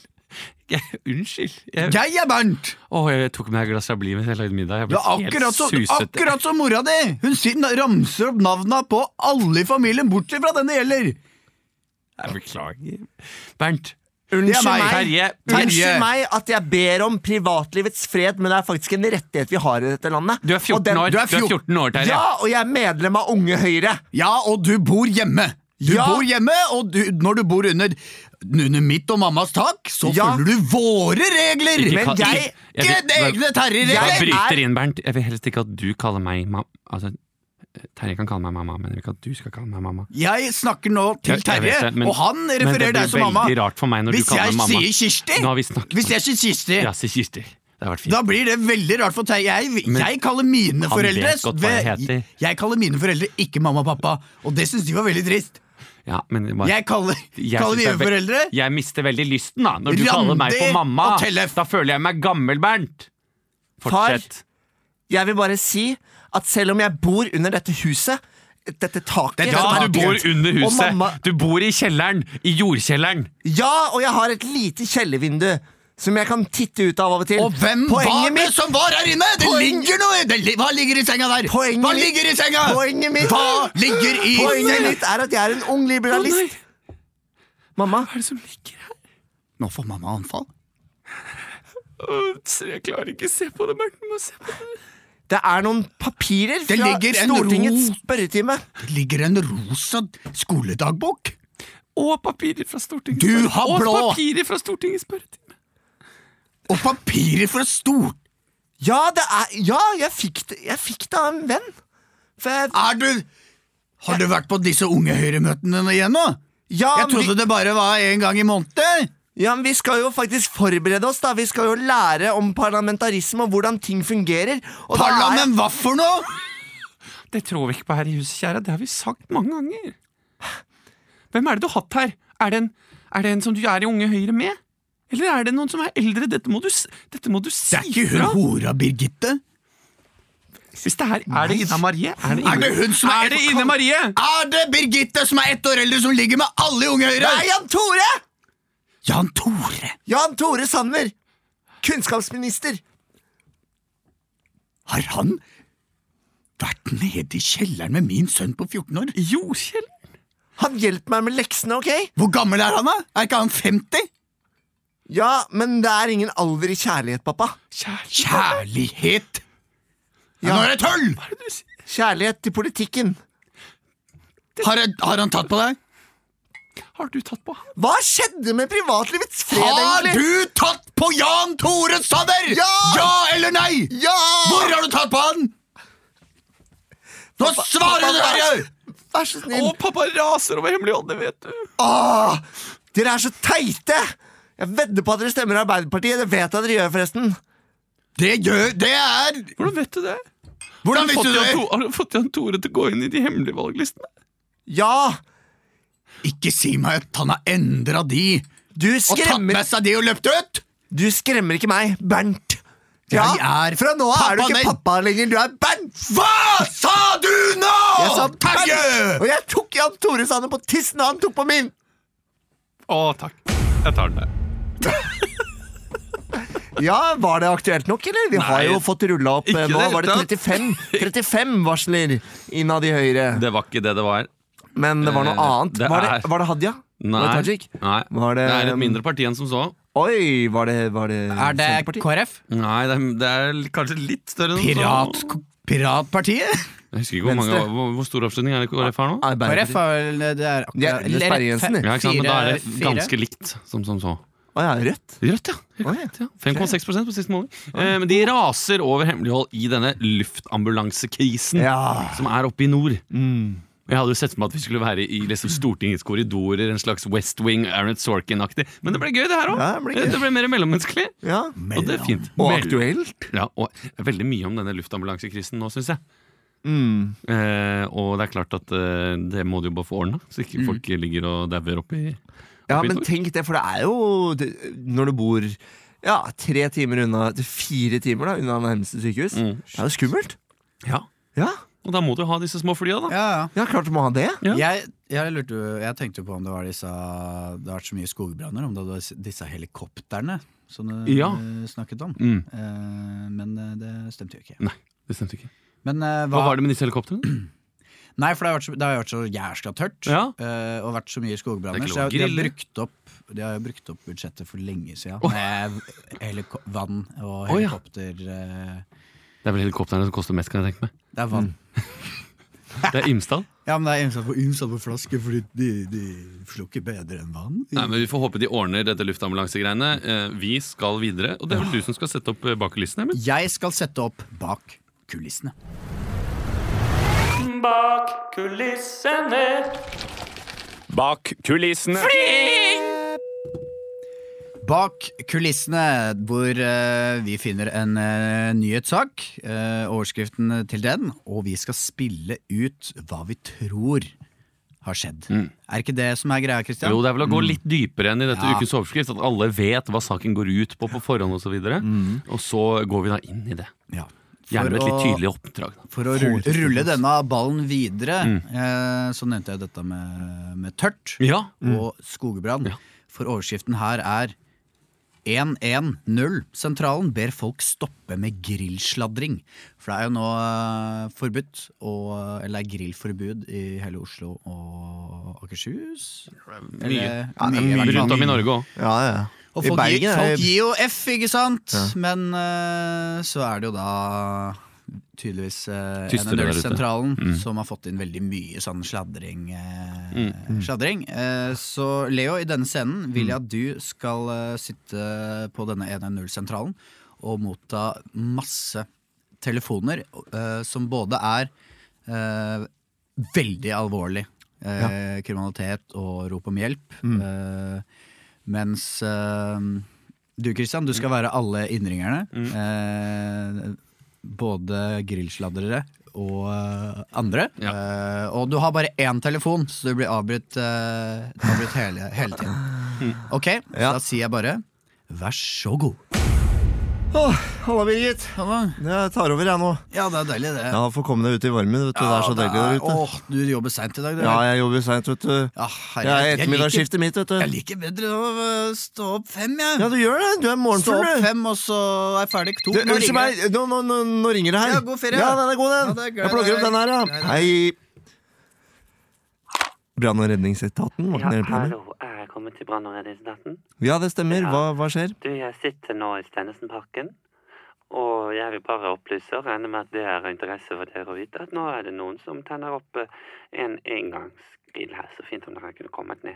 Speaker 1: Jeg, unnskyld. Jeg,
Speaker 2: Jeg er Bernt.
Speaker 1: Åh, jeg tok med meg et glass rabli mens jeg lagde middag. Jeg
Speaker 2: Det
Speaker 1: ble
Speaker 2: er akkurat,
Speaker 1: helt
Speaker 2: så,
Speaker 1: susete.
Speaker 2: akkurat som mora di! Hun sin- ramser opp navna på alle i familien, bortsett fra den det gjelder.
Speaker 1: Jeg beklager. Bernt.
Speaker 2: Det er meg.
Speaker 1: Terje.
Speaker 2: Terje.
Speaker 3: Unnskyld meg at jeg ber om privatlivets fred, men det er faktisk en rettighet vi har i dette landet.
Speaker 1: Du er 14
Speaker 3: Og den-
Speaker 1: år,
Speaker 2: du er
Speaker 1: du er 14 år Terje.
Speaker 3: Ja, og jeg er medlem av Unge Høyre.
Speaker 2: Ja, og du bor hjemme! Du
Speaker 3: Ja.
Speaker 2: bor hjemme, og du, når du bor under, under mitt og mammas tak, så
Speaker 3: Ja.
Speaker 2: følger du våre regler!
Speaker 1: Ikke
Speaker 2: Men
Speaker 1: kall-
Speaker 2: jeg
Speaker 1: Jeg- jeg-
Speaker 2: ikke egne
Speaker 1: Jeg
Speaker 2: terrorregler!
Speaker 1: bryter inn, Bernt. Jeg vil helst ikke at du kaller meg mamma. Altså, Terje kan kalle meg mamma, men jeg vil ikke at du skal kalle meg mamma.
Speaker 2: Jeg snakker nå til
Speaker 1: Jeg- jeg vet
Speaker 2: Terje,
Speaker 1: det, men-
Speaker 2: og
Speaker 1: men
Speaker 2: han
Speaker 1: det
Speaker 2: refererer
Speaker 1: blir
Speaker 2: deg som mamma.
Speaker 1: veldig rart for meg når du
Speaker 2: Hvis
Speaker 1: kaller
Speaker 2: jeg
Speaker 1: meg mamma.
Speaker 2: sier Kirsti,
Speaker 1: Nå har vi snakket
Speaker 2: hvis
Speaker 1: om-
Speaker 2: jeg sier Kirsti,
Speaker 1: Ja, si kirsti. Det har vært fint.
Speaker 2: Da blir det veldig rart for Terje. Jeg,
Speaker 1: Men
Speaker 2: jeg kaller mine
Speaker 1: han
Speaker 2: foreldre
Speaker 1: vet godt hva jeg heter.
Speaker 2: Jeg kaller mine foreldre ikke mamma og pappa, og det syns de var veldig trist.
Speaker 1: Ja, men det var-
Speaker 2: Jeg kaller,
Speaker 1: Jeg
Speaker 2: kaller
Speaker 1: synes det er
Speaker 2: mine
Speaker 1: ve-
Speaker 2: foreldre
Speaker 1: Jeg mister veldig lysten, da, når du kaller meg
Speaker 2: Randi
Speaker 1: for mamma.
Speaker 2: og Tellef.
Speaker 1: Da føler jeg meg gammel, Bernt.
Speaker 3: Far.
Speaker 1: Fortsett.
Speaker 3: Jeg vil bare si at selv om jeg bor under dette huset dette taket. dette
Speaker 2: Dette
Speaker 1: Ja,
Speaker 2: taket.
Speaker 1: du bor under
Speaker 3: Og
Speaker 1: huset.
Speaker 3: mamma-
Speaker 1: Du bor i kjelleren. I jordkjelleren.
Speaker 3: Ja, og jeg har et lite kjellervindu. som jeg kan titte ut av av og til.
Speaker 2: Og hvem var
Speaker 3: Poenget
Speaker 2: det
Speaker 3: mitt
Speaker 2: som var her inne? Det
Speaker 3: Poeng-
Speaker 2: ligger noe det, li- Hva ligger i senga der?
Speaker 3: Poenget
Speaker 2: Hva
Speaker 3: mitt-
Speaker 2: ligger i senga?
Speaker 3: Poenget mitt-
Speaker 2: Hva ligger i
Speaker 3: Poenget mitt er at jeg er en ung liberalist. Mamma,
Speaker 5: Hva er det som ligger her?
Speaker 2: Nå får mamma anfall.
Speaker 5: Åh, Jeg klarer ikke å se på det, Morten. Må se på det.
Speaker 3: det er noen papirer
Speaker 2: Det
Speaker 3: fra
Speaker 2: ligger en
Speaker 3: Stortingets
Speaker 2: rot.
Speaker 3: spørretime.
Speaker 2: Det ligger en rosa skoledagbok.
Speaker 5: Og papirer fra Stortinget.
Speaker 2: Du har blå!
Speaker 5: Og papirer fra Stortinget spørretime.
Speaker 2: Og papirer fra stor...
Speaker 3: Ja, det er, ja jeg, fikk det, jeg fikk det av en venn. For jeg,
Speaker 2: Er du Har du vært på disse unge høyremøtene igjen nå?
Speaker 3: ja,
Speaker 2: Jeg
Speaker 3: men vi-
Speaker 2: trodde det bare var én gang i måneden.
Speaker 3: Ja, men Vi skal jo faktisk forberede oss. da Vi skal jo lære om parlamentarisme og hvordan ting fungerer. Og da er-
Speaker 2: Parlament, hva for noe?!
Speaker 5: Det tror vi ikke på her i huset, kjære. Det har vi sagt mange ganger. Hvem er det du har hatt her? Er det en, er det en som du er i Unge Høyre med? Eller er det noen som er eldre? Dette må du, s- dette må du si
Speaker 2: Det er ikke hun
Speaker 5: fra.
Speaker 2: hora Birgitte.
Speaker 5: Hvis det her er det Ina Marie? Er det,
Speaker 2: Er det hun som er-
Speaker 5: Er det Ine Marie?
Speaker 2: Er det Birgitte som er ett år eldre, som ligger med alle i Unge Høyre?
Speaker 3: Nei, Jan Tore!
Speaker 2: Jan Tore!
Speaker 3: Jan Tore Sanner! Kunnskapsminister.
Speaker 2: Har han vært nede i kjelleren med min sønn på 14 år?
Speaker 5: Jo, Kjell.
Speaker 3: Han hjelper meg med leksene, ok?
Speaker 2: Hvor gammel er han, da? Er ikke han 50?
Speaker 3: Ja, men det er ingen alver i kjærlighet, pappa.
Speaker 5: Kjære.
Speaker 2: Kjærlighet! Ja.
Speaker 3: Ja.
Speaker 2: Nå er det tull!
Speaker 5: Hva er det du sier?
Speaker 3: Kjærlighet til politikken.
Speaker 2: Har, har han tatt på deg?
Speaker 5: Har du tatt på han?
Speaker 3: Hva skjedde med privatlivets fred,
Speaker 2: Har
Speaker 3: egentlig?
Speaker 2: du tatt på Jan Tore Sanner?
Speaker 3: Ja!
Speaker 2: eller nei?
Speaker 3: Ja!
Speaker 2: Hvor har du tatt på han? Nå svarer du, Terje!
Speaker 3: Vær så
Speaker 5: Å,
Speaker 3: snill.
Speaker 5: pappa raser over hemmeligholdene, vet du.
Speaker 3: Åh, dere er så teite! Jeg vedder på at dere stemmer Arbeiderpartiet. Det vet jeg dere gjør, forresten.
Speaker 2: Det gjør Det er
Speaker 5: Hvordan vet du det?
Speaker 2: Hvordan
Speaker 5: Har du
Speaker 2: visste
Speaker 5: fått
Speaker 2: du
Speaker 5: Jan
Speaker 2: det?
Speaker 5: To- Har du fått Jan Tore til å gå inn i de hemmelige valglistene?
Speaker 3: Ja,
Speaker 2: Ikke si meg at han har endra de
Speaker 3: du
Speaker 2: og tatt
Speaker 3: skremmer
Speaker 2: med seg de og løpt ut!
Speaker 3: Du skremmer ikke meg, Bernt. Ja,
Speaker 2: Jeg er
Speaker 3: Fra nå av er du
Speaker 2: pappaen
Speaker 3: ikke
Speaker 2: din.
Speaker 3: pappa lenger, du er Bernt.
Speaker 2: Hva sa du nå?!
Speaker 3: Jeg sa Bernt,
Speaker 2: Terje!
Speaker 3: og jeg tok Jan Tore Sanner på tissen, og han tok på min.
Speaker 5: Å, takk. Jeg tar den der.
Speaker 3: Ja, Var det aktuelt nok, eller? Vi har
Speaker 5: Nei,
Speaker 3: jo fått rulla opp
Speaker 5: ikke
Speaker 3: eh,
Speaker 5: i
Speaker 3: nå.
Speaker 5: det hele
Speaker 3: Var det 35, 35 varsler innad i Høyre?
Speaker 1: Det var ikke det det var.
Speaker 3: Men det var noe
Speaker 1: Eh,
Speaker 3: annet.
Speaker 1: det
Speaker 3: var,
Speaker 1: er-
Speaker 3: det, var det Hadia?
Speaker 1: Nei.
Speaker 3: Var det Tajik?
Speaker 1: Nei.
Speaker 3: Var
Speaker 1: Det
Speaker 3: det,
Speaker 1: er et mindre parti enn som så.
Speaker 3: Oi, var det, var det Senterpartiet?
Speaker 2: KrF?
Speaker 1: Nei, det er, det er kanskje litt større enn
Speaker 2: Pirat,
Speaker 1: som så.
Speaker 2: piratpartiet?
Speaker 1: Jeg husker ikke hvor, mange,
Speaker 3: Venstre.
Speaker 1: hvor, hvor stor oppslutning er det KrF har nå?
Speaker 2: KrF
Speaker 3: Arbeiderpartiet.
Speaker 2: er vel Det er
Speaker 3: De er under sperregrensen, de.
Speaker 1: Ja, ikke sant, men da er det ganske likt som som så.
Speaker 3: Å ja, Rødt.
Speaker 1: Rødt, ja. Helt
Speaker 3: Å, ja.
Speaker 1: korrekt, ja. 5,6 prosent på siste måling. Eh, men de raser over hemmelighold i denne luftambulansekrisen
Speaker 3: Ja. Mm.
Speaker 1: som er oppe i nord. Jeg hadde jo sett for meg at vi skulle være i liksom, Stortingets korridorer, en slags West Wing, Aaron Sorkin-aktig. Men det ble gøy, det her òg.
Speaker 3: Ja, det ble gøy.
Speaker 1: det ble mer mellommenneskelig.
Speaker 3: ja.
Speaker 1: Og det er fint.
Speaker 3: Og
Speaker 1: Mell-
Speaker 3: aktuelt.
Speaker 1: Ja, og det er veldig mye om denne luftambulansekrisen nå, syns jeg. Eh, og det er klart at eh, det må du jo bare få ordna, så ikke folk ligger og dauer oppi
Speaker 3: Ja,
Speaker 1: Oppi
Speaker 3: men
Speaker 1: nord.
Speaker 3: tenk det, for det er jo det, Når du bor ja, tre timer unna til Fire timer da, unna nærmeste sykehus.
Speaker 2: Mm.
Speaker 3: Det er jo skummelt.
Speaker 1: Ja.
Speaker 3: Ja,
Speaker 1: Og da må du ha disse små flya, da.
Speaker 2: Ja, ja.
Speaker 3: ja klart du må ha det.
Speaker 1: Ja.
Speaker 2: Jeg, jeg, lurte, jo- jeg tenkte jo på om det var disse Det har vært så mye skogbranner, om det var disse- disse helikoptrene som du
Speaker 1: Ja.
Speaker 2: eh, snakket om.
Speaker 1: Mm.
Speaker 2: Eh, men eh, det stemte jo ikke.
Speaker 1: Nei, det stemte ikke.
Speaker 2: Men eh,
Speaker 1: Hva
Speaker 2: hva,
Speaker 1: var det med disse helikoptrene?
Speaker 2: Nei, for det har vært så, det har vært så jæskla tørt,
Speaker 1: Ja.
Speaker 2: eh, og vært så mye skogbranner,
Speaker 1: Det er ikke
Speaker 2: så
Speaker 1: lov å
Speaker 2: de har, de, har
Speaker 1: grille.
Speaker 2: brukt opp, de har brukt opp budsjettet for lenge siden. Med heliko vann og
Speaker 1: Å, ja.
Speaker 2: helikopter eh,
Speaker 1: Det er vel helikoptrene som koster mest, kan jeg tenke meg.
Speaker 2: Det er vann.
Speaker 1: Det er Imsdal.
Speaker 2: Ja, men det er innsatt på, innsatt på flaske, fordi de, de slukker bedre enn vann.
Speaker 1: [laughs] Nei, men Vi får håpe de ordner dette luftambulansegreiene. Eh, Vi skal videre, og det er vel du som skal sette opp eh, bak kulissene? Emil?
Speaker 2: Jeg skal sette opp bak kulissene.
Speaker 7: Bak kulissene.
Speaker 5: Bak kulissene.
Speaker 2: Bak kulissene, hvor eh, vi finner en eh, nyhetssak, eh, overskriften til den, og vi skal spille ut hva vi tror har skjedd. Er ikke det som er greia, Kristian?
Speaker 1: Mm. Jo, det er vel å gå litt dypere enn i dette
Speaker 2: Ja.
Speaker 1: ukens overskrift. At alle vet hva saken går ut på på forhånd osv. Og, så videre. og så går vi da inn i det.
Speaker 2: Ja.
Speaker 1: Gjerne med et litt
Speaker 2: å-
Speaker 1: tydelig oppdrag. Da.
Speaker 2: For å rulle, rulle denne ballen videre, eh, så nevnte jeg dette med, med tørt
Speaker 1: Mm. Ja,
Speaker 2: og skogbrann.
Speaker 1: Mm. Ja.
Speaker 2: For overskriften her er 110-sentralen ber folk stoppe med grillsladring. For det er jo nå eh, forbudt, og, eller det er grillforbud i hele Oslo og Akershus.
Speaker 1: Mye.
Speaker 2: Eller-
Speaker 3: Ja, det er
Speaker 2: i hvert fall.
Speaker 1: Rundt om i Norge òg.
Speaker 3: Ja, ja.
Speaker 2: Og
Speaker 3: I
Speaker 2: folk,
Speaker 3: Bergen
Speaker 2: gir,
Speaker 3: er det-
Speaker 2: folk gir jo F, ikke sant? Men eh, så er det jo da tydeligvis uh,
Speaker 1: Tystere der ute. Mm.
Speaker 2: NNL-sentralen som har fått inn veldig mye sånn sladring. eh,
Speaker 1: Mm.
Speaker 2: sladring. Eh, så Leo, i denne scenen vil jeg at du skal eh, sitte på denne 110-sentralen og motta masse telefoner eh, som både er eh, veldig alvorlig eh, kriminalitet og rop om hjelp.
Speaker 3: Mm.
Speaker 2: Eh, mens eh, du, Kristian, du skal være alle innringerne. Eh, både grillsladdere og eh, andre. Eh, og du har bare én telefon, så du blir avbrutt, eh, avbrutt hele, hele tiden. Ok,
Speaker 3: Ja.
Speaker 2: så da sier jeg bare vær så god.
Speaker 3: Åh, Halla, Birgit. Jeg tar over, jeg nå.
Speaker 2: Ja, det er deilig, det.
Speaker 3: Ja, Få komme deg ut i varmen. vet du, Det er så deilig der ute.
Speaker 2: Åh, du jobber seint i dag, du.
Speaker 3: Ja, jeg jobber seint, vet du.
Speaker 2: Ja,
Speaker 3: Det
Speaker 2: herregud,
Speaker 3: er
Speaker 2: jeg liker-
Speaker 3: ettermiddagsskiftet mitt, vet
Speaker 2: Jeg
Speaker 3: du.
Speaker 2: liker bedre å øh, stå opp fem, jeg.
Speaker 3: Ja, du gjør det. Du er
Speaker 2: stå
Speaker 3: morgenfull,
Speaker 2: opp
Speaker 3: du.
Speaker 2: fem, og så er jeg ferdig to.
Speaker 3: Du,
Speaker 2: Nå
Speaker 3: Unnskyld
Speaker 2: ringer
Speaker 3: meg,
Speaker 2: jeg.
Speaker 3: nå, nå, nå, nå ringer det her.
Speaker 2: Ja, god ferie.
Speaker 3: Ja, den er god,
Speaker 2: Ja,
Speaker 3: den.
Speaker 2: det er glad
Speaker 3: jeg plugger
Speaker 2: i
Speaker 3: opp
Speaker 2: deg.
Speaker 3: den her,
Speaker 2: Glad
Speaker 3: ja.
Speaker 2: i deg.
Speaker 3: Hei. Brann- og redningsetaten? var
Speaker 7: Ja,
Speaker 3: ikke det hele planen?
Speaker 7: hallo, er jeg kommet til brann- og redningsetaten?
Speaker 3: Ja, det stemmer. Hva, hva skjer?
Speaker 7: Du, jeg sitter nå i Stennesenparken, og jeg vil bare opplyse og regne med at det er av interesse for dere å vite at nå er det noen som tenner opp eh, en engangsgrill her. Så fint om dere kunne kommet ned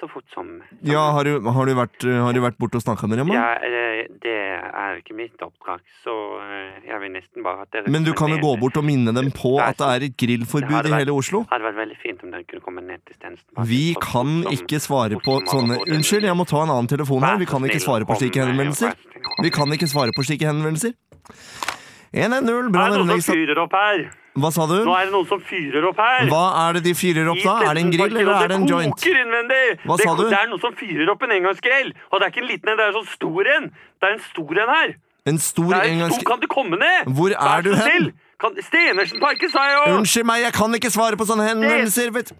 Speaker 7: så fort som
Speaker 3: Ja, Har du, har du vært, har du vært borte og snakka med dem? da?
Speaker 7: Ja, eh, det er ikke mitt oppdrag, så eh, jeg vil nesten bare at dere
Speaker 3: Men du kan
Speaker 7: kommer
Speaker 3: jo
Speaker 7: ned.
Speaker 3: gå bort og minne dem på at det er et
Speaker 7: Det har
Speaker 3: grillforbud i
Speaker 7: det vært.
Speaker 3: hele Oslo.
Speaker 7: hadde vært veldig fint om dere kunne komme ned til Stensenparken.
Speaker 3: Vi
Speaker 7: så fort
Speaker 3: kan
Speaker 7: sånn som-
Speaker 3: ikke svare på
Speaker 7: fort som
Speaker 3: sånne
Speaker 7: overhodet
Speaker 3: Unnskyld, jeg må ta en annen telefon her.
Speaker 7: Vær
Speaker 3: Vi
Speaker 7: så
Speaker 3: kan ikke
Speaker 7: snill,
Speaker 3: svare på
Speaker 7: kom
Speaker 3: slike
Speaker 7: ned,
Speaker 3: henvendelser.
Speaker 7: vær så snill, kom
Speaker 3: Vi kan ikke svare på slike henvendelser. 110,
Speaker 7: Er
Speaker 3: brann-
Speaker 7: det
Speaker 3: og
Speaker 7: noen som
Speaker 3: redningsstat-
Speaker 7: fyrer opp her?
Speaker 3: Hva sa du?
Speaker 7: Nå er det noen som fyrer opp her!
Speaker 3: Hva er det de fyrer opp da? Er det en
Speaker 7: I
Speaker 3: grill, eller er det en joint?
Speaker 7: koker innvendig!
Speaker 3: Hva
Speaker 7: det,
Speaker 3: sa du?
Speaker 7: Det er noen som fyrer opp en engangsgrill. Og det er ikke en liten en, det er en sånn stor en. Det er en stor en her.
Speaker 3: En stor
Speaker 7: Det er en stor,
Speaker 3: engangs...
Speaker 7: kan du komme ned?
Speaker 3: Hvor er
Speaker 7: Vær så
Speaker 3: du hen?
Speaker 7: snill! Kan, Stenersenparken, sa jeg jo!
Speaker 3: Unnskyld meg, jeg kan ikke svare på sånne henvendelser! Vet.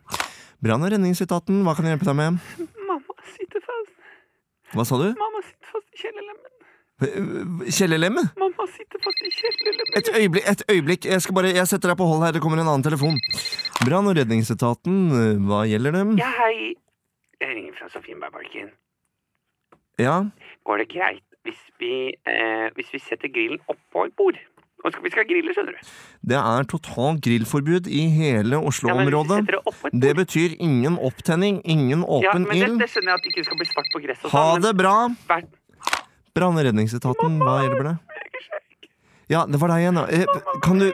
Speaker 3: Brann- og redningsetaten, hva kan jeg hjelpe deg med?
Speaker 7: Mamma sitter fast.
Speaker 3: Hva sa du?
Speaker 7: Mamma sitter fast i kjellerlemmen.
Speaker 3: Kjellerlemmen?
Speaker 7: Mamma sitter fast i kjellerlemmen.
Speaker 3: Et øyeblikk, et øyeblikk. Jeg, skal bare, jeg setter deg på hold her, det kommer en annen telefon. Brann- og redningsetaten, eh, hva gjelder dem?
Speaker 7: Ja, hei. Jeg ringer fra Sofienbergparken.
Speaker 3: Ja,
Speaker 7: Går det greit hvis vi, eh, hvis vi setter grillen oppå et bord? Og skal, vi skal grille, skjønner du.
Speaker 3: det er totalt grillforbud i hele
Speaker 7: Ja, men hvis vi
Speaker 3: Oslo-området.
Speaker 7: setter det oppå et
Speaker 3: Det
Speaker 7: bord-
Speaker 3: betyr ingen opptenning, ingen
Speaker 7: ja,
Speaker 3: åpen
Speaker 7: men det,
Speaker 3: ild.
Speaker 7: det skjønner jeg at det ikke skal bli svart på gresset. og
Speaker 3: Ha
Speaker 7: sånn, men-
Speaker 3: det bra!
Speaker 7: Vær-
Speaker 3: Brann- og redningsetaten, hva hjelper det? Ja, det var deg igjen, da. Eh, Kan du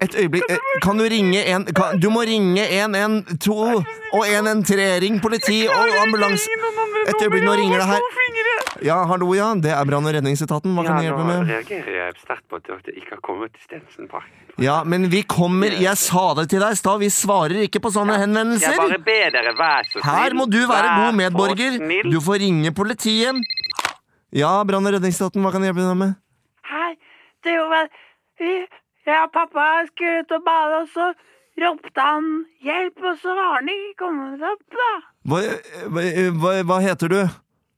Speaker 3: Et øyeblikk. eh, Kan du ringe en kan, Du må ringe 112 og 113. Ring politi og ambulanse. Et øyeblikk, nå ringer det her. Ja, hallo, ja. Det er brann- og redningsetaten. Hva kan jeg hjelpe
Speaker 7: Ja, nå
Speaker 3: med?
Speaker 7: reagerer jeg sterkt på at dere ikke har kommet til Stensenparken.
Speaker 3: Ja, men vi kommer Jeg sa det til deg i stad. Vi svarer ikke på sånne
Speaker 7: Jeg bare
Speaker 3: henvendelser.
Speaker 7: ber dere, vær så snill.
Speaker 3: Her må du være
Speaker 7: vær
Speaker 3: god
Speaker 7: så
Speaker 3: medborger.
Speaker 7: snill.
Speaker 3: Du får ringe politiet. Ja, brann- og redningsetaten, hva kan jeg hjelpe deg med?
Speaker 8: Hei, det er jo vel vi, Jeg og pappa skulle ut og bade, og så ropte han 'hjelp', og så var han ikke kommet opp, da.
Speaker 3: Hva, hva, hva, hva heter du?